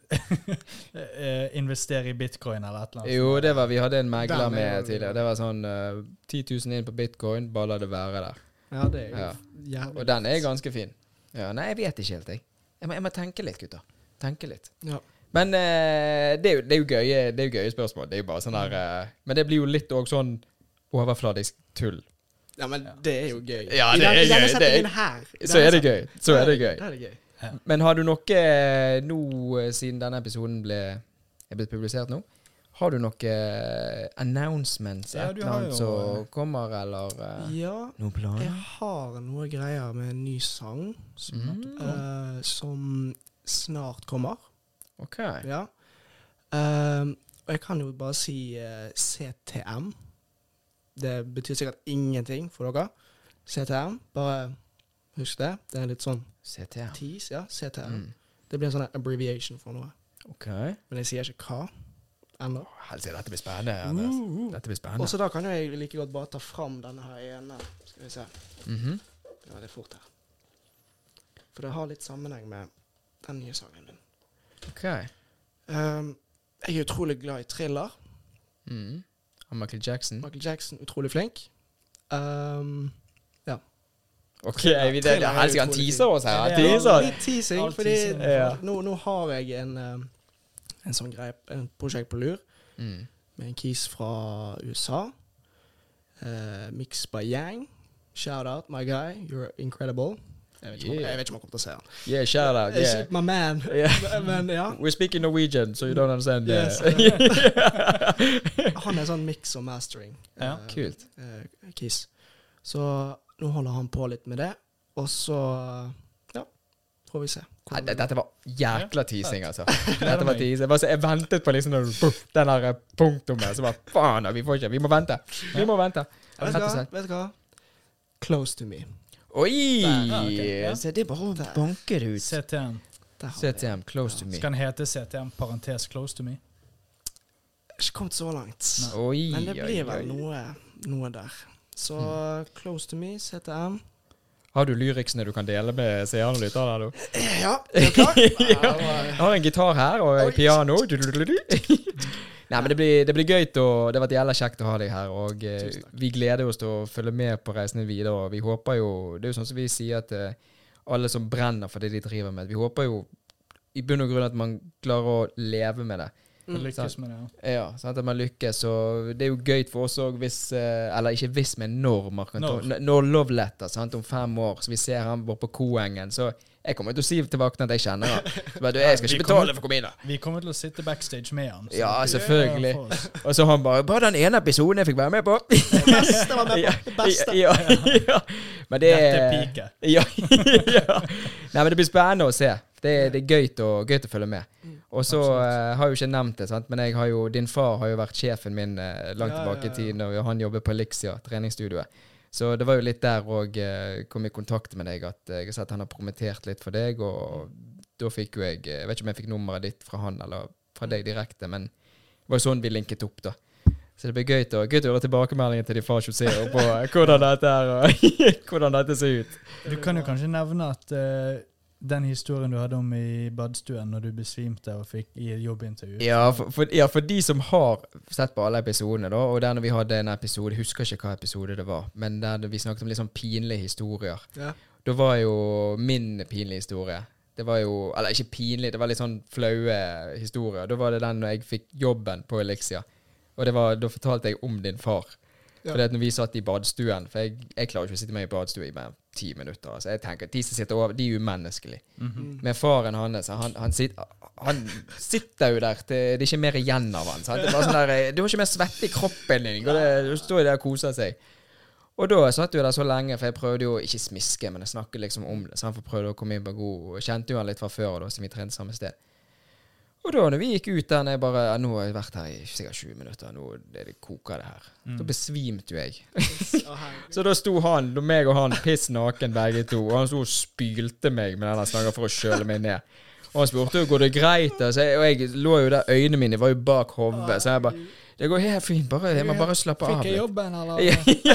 eh, Investere i bitcoin, eller et eller annet. Jo, det var vi hadde en megler Den er med jo- tidligere. Det var sånn eh, 10 000 inn på bitcoin, bare la det være der. Ja, det er jo Ja. jævlig. Og den er ganske fin. Ja, nei, jeg vet ikke helt, jeg. Jeg må, jeg må tenke litt, gutter. Tenke litt. Ja. Men eh, det, er jo, det, er jo gøye, det er jo gøye spørsmål. Det er jo bare sånn der eh, Men det blir jo litt òg sånn overfladisk tull. ja, men det er jo gøy. Ja, I det den- er I denne gøy, det er- settingen her. i Så denne er det settingen. gøy. Så er det gøy. Da er det gøy. Men har du noe eh, nå, eh, siden denne episoden ble, er blitt publisert nå, har du noe eh, announcements, Ja, et du eller har annet jo, eh, som kommer, eller eh, Ja, noen jeg planer? har noe greier med en ny sang Mm, eh, som snart kommer. ok. Ja. Eh, og jeg kan jo bare si eh, CTM. Det betyr sikkert ingenting for dere. CTM, bare husk det. Det er litt sånn CTM. tease, ja. CTM. Mm. Det blir en sånn abbreviation for noe. Ok. Men jeg sier ikke hva ennå. Å, Helse, dette blir spennende. Anders. Dette blir Og spennende. så da kan jo jeg like godt bare ta fram denne her ene. Skal vi se. Mhm. Det var litt fort her. For det har litt sammenheng med den nye sangen min. Ok. Ehm, jeg er utrolig glad i thriller. Mm. Og Michael Jackson. Michael Jackson, utrolig flink. Ehm, Ok, vi, det, det, Trailer er helsike, han utrolig teaser oss her. Han Ja, det er- teaser. litt teasing, All fordi teasing. Ja. nå, nå har jeg en, ehm, en sånn greie, en prosjekt på lur, Mm. med en kis fra USA. Uh, Mix by Yang. Shout out, my guy. You're incredible. Jeg vet ikke om Yeah. jeg, vet ikke om jeg kommer til å se han. Yeah, shout out. Yeah. Ikke My man. Yeah. Men ja. We're speaking Norwegian, so you don't understand. eh. Yes. Han er sånn mix og mastering. Ja, eh, Kult. eh, Kiss. Så nå holder han på litt med det, og så ja, får vi se. Nei, hvordan det- det går. dette var jækla teasing, altså. Dette var meg. teasing. Jeg, bare, så- jeg ventet på liksom den, puff, den der punktummet. Så bare faen, da, vi får ikke Vi må vente. Vi må vente. vet, Rett du og hva? slett. vet du hva? Close to me. Oi! Ja, ok, ja. Så det er bare å Der. banke det ut. CTM. Der har vi det. CTM, close to me. Så kan den hete CTM, parentes close to Mm. me. Ikke kommet så langt. Oi, Men det oi, blir vel oi. Hmm. noe, noe der. Så Close to me, CTM. Har du lyriksene du kan dele med seerne og lytterne? her, du? Eh, Ja, er du klar? ja. Jeg har en gitar her og Oi. et piano. Du, du, du, du. Nei, men det blir, det blir gøy, og det har vært jævla kjekt å ha deg her. Og eh, Tusen takk. vi gleder oss til å følge med på reisene videre. Og vi håper jo Det er jo sånn som vi sier at eh, alle som brenner for det de driver med Vi håper jo i bunn og grunn at man klarer å leve med det. Og Lykkes sant. med det. ja. Ja, sant, At man lykkes. Og det er jo gøy for oss òg hvis eh, Eller ikke hvis, men når. Mark Når. Anton- når Love Letter sant, om fem år, så vi ser han vår på Koengen. Så jeg kommer til å si til vaktene at jeg kjenner han. Så bare, du, jeg skal Vi ikke kommer- betale for å komme inn her. Vi kommer til å sitte backstage med han. så Ja, det er selvfølgelig. for oss. Og så han bare 'Bare den ene episoden jeg fikk være med på'. Det beste var med på. Det beste. ja, ja. Men det Dette er piket. Ja, ja. Nei, men det blir spennende å se. Det, er- det er gøy å, gøy å følge med. Og så eh, har jeg jo ikke nevnt det, sant? men jeg har jo, din far har jo vært sjefen min eh, langt Ja, tilbake ja, ja. i tid, og han jobber på Elixia, treningsstudioet. Så det var jo litt der òg eh, kom i kontakt med deg, at eh, jeg har sett han har promittert litt for deg, og da fikk jo jeg eh, Jeg vet ikke om jeg fikk nummeret ditt fra han eller fra deg direkte, men det var jo sånn vi linket opp, da. Så det blir gøy til å gøy til å høre tilbakemeldingen til de fra Joseo på eh, hvordan dette, er, og hvordan dette ser ut. Du kan jo kanskje nevne at eh, den historien du hadde om i badstuen når du besvimte og fikk i et jobbintervju Ja for, for, ja, for de som har sett på alle episodene, da, og der når vi hadde en episode, jeg husker ikke hva episode det var, men der vi snakket om litt sånn pinlige historier. Ja. Da var jo min pinlige historie Det var jo Eller ikke pinlig, det var litt sånn flaue historier. Da var det den når jeg fikk jobben på Elixia, og det var, da fortalte jeg om din far. Ja. For det at når vi satt i badstuen For jeg, jeg klarer jo ikke å sitte meg i badstue i mer enn ti minutter. Altså. Jeg tenker at De som sitter over, de er umenneskelige. Mhm. Mm. Men faren hans, han, han, sit, han sitter jo der til det er ikke mer igjen av han. Sant? Det er bare sånn der, eh, Du har ikke mer svette i kroppen din. Og det, du står jo der og koser seg. Og da satt jeg jo der så lenge, for jeg prøvde jo ikke smiske, men jeg snakket liksom om det. Så han prøvde å komme inn på god og Kjente jo han litt fra før, da, siden vi trente samme sted. Og da når vi gikk ut der, når jeg bare ja, Nå har jeg vært her i sikkert 20 minutter, nå er det koker det her. Da besvimte jo jeg. Så da sto han, da meg og han, piss naken begge to, og han sto og spylte meg med denne slangen for å kjøle meg ned. Og han spurte jo går det greit, og, så jeg, og jeg lå jo der, øynene mine var jo bak hodet, så jeg bare Det går helt fint, bare, jeg må bare slappe av Fikk jeg litt. jobben, eller? Ja, ja,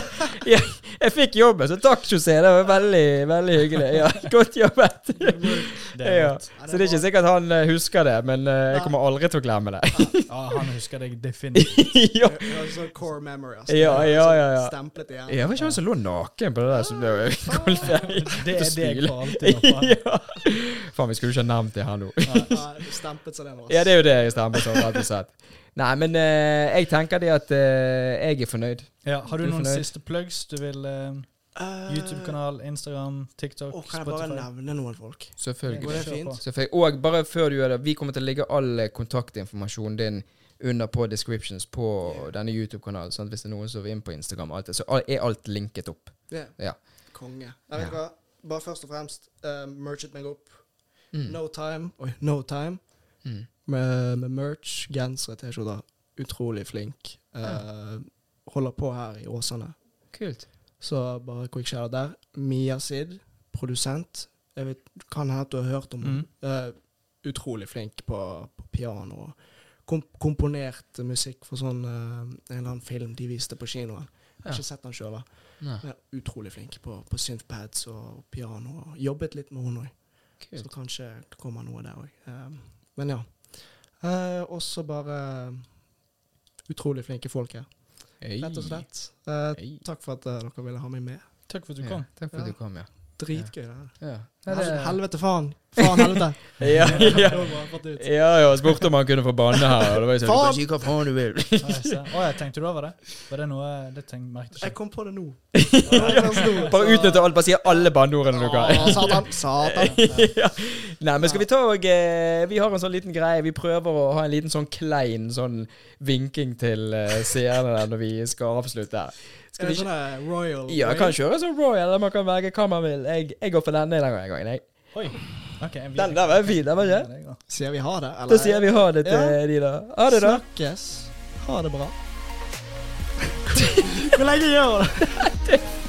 ja, jeg fikk jobben, så takk, José. Det var veldig veldig hyggelig. Ja, godt jobbet. Det er Ja. godt. Så det er ikke sikkert han eh, husker det, men eh, jeg kommer aldri til å glemme det. Ja, han husker deg definitivt. Ja, Det var sånn core memory. Altså. Ja, Det ja, var ja, sånn ja. Stemplet igjen. Ja, det var ikke han som lå naken på det der som ble golfet? Det er det jeg Spyle. får alltid. da, faen. ja. Faen, vi skulle ikke ha nevnt det her nå. Ja, ja, det ble stemplet som det var. Ja, det er jo det jeg stemmer sånn, rett og slett. Nei, men eh, jeg tenker det at eh, jeg er fornøyd. Ja, har du Du er noen fornøyd? siste plugs? Du vil eh, Eh, YouTube-kanal, Instagram, TikTok, Å, kan jeg bare Spotify? nevne noen folk? Selvfølgelig. Går det Kjør på. fint? Selvfølgelig. Og bare før du gjør det, vi kommer til å legge all eh, kontaktinformasjonen din under på descriptions på denne YouTube-kanalen. Sånn at hvis det er noen som vil inn på Instagram, og alt det, så al- er alt linket opp. Ja. Ja. Konge. Jeg vet Ja. hva, bare først og fremst, uh, merchet meg opp. Mm. No time. Oi, no time. Mm. Med, med merch, gensere, T-skjorter. Utrolig flink. Eh, Holder på her i Åsane. Kult. Så bare quick shout der. Mia Sid, produsent. Jeg vet, kan hende at du har hørt om henne. Eh, utrolig flink på, på piano. og Kom, komponert musikk for sånn eh, en eller annen film de viste på kinoen. Jeg har Ja. ikke sett han sjøl, Nei, men utrolig flink på, på synthpads og piano. og Jobbet litt med henne òg, så kult. kanskje det kommer noe der òg. men ja. Eh, også bare eh, utrolig flinke folk her, rett og slett. Eh, Hey. takk for at eh, dere ville ha meg med. Takk for at du Ja, kom. takk for at du kom, ja. Dritgøy. det her. ja. Hel- Helvete, faen. Faen, helvete. Ja, ja. Det var bra, fått ut. Ja, ja, og spurte om han kunne få banne her. Og det var jeg sånn, Faen! du kan si hva faen du vil. Å, jeg ser. Å, jeg tenkte du over det? Var det noe Det tenk, merket Jeg jeg ikke. kom på det nå. Bare utnytte alt, bare si alle banneordene du kan. Å, Satan. Satan. ja. Nei, men skal vi ta og eh, Vi har en sånn liten greie. Vi prøver å ha en liten sånn klein sånn vinking til eh, seerne der når vi skal avslutte her. Er Skal det vi sånn der royal Ja, way? kan kjøre sånn Roy, eller man kan velge hva man vil. Jeg, jeg går for denne den gangen, jeg. Oi. Ok, jeg- Den der var fin, den var ikke? Ja, det er godt. Sier vi ha det, eller? Da sier vi ha det til Ja. de, da. Ha det, da. Snakkes. Ha det bra. Hvor lenge gjør du det?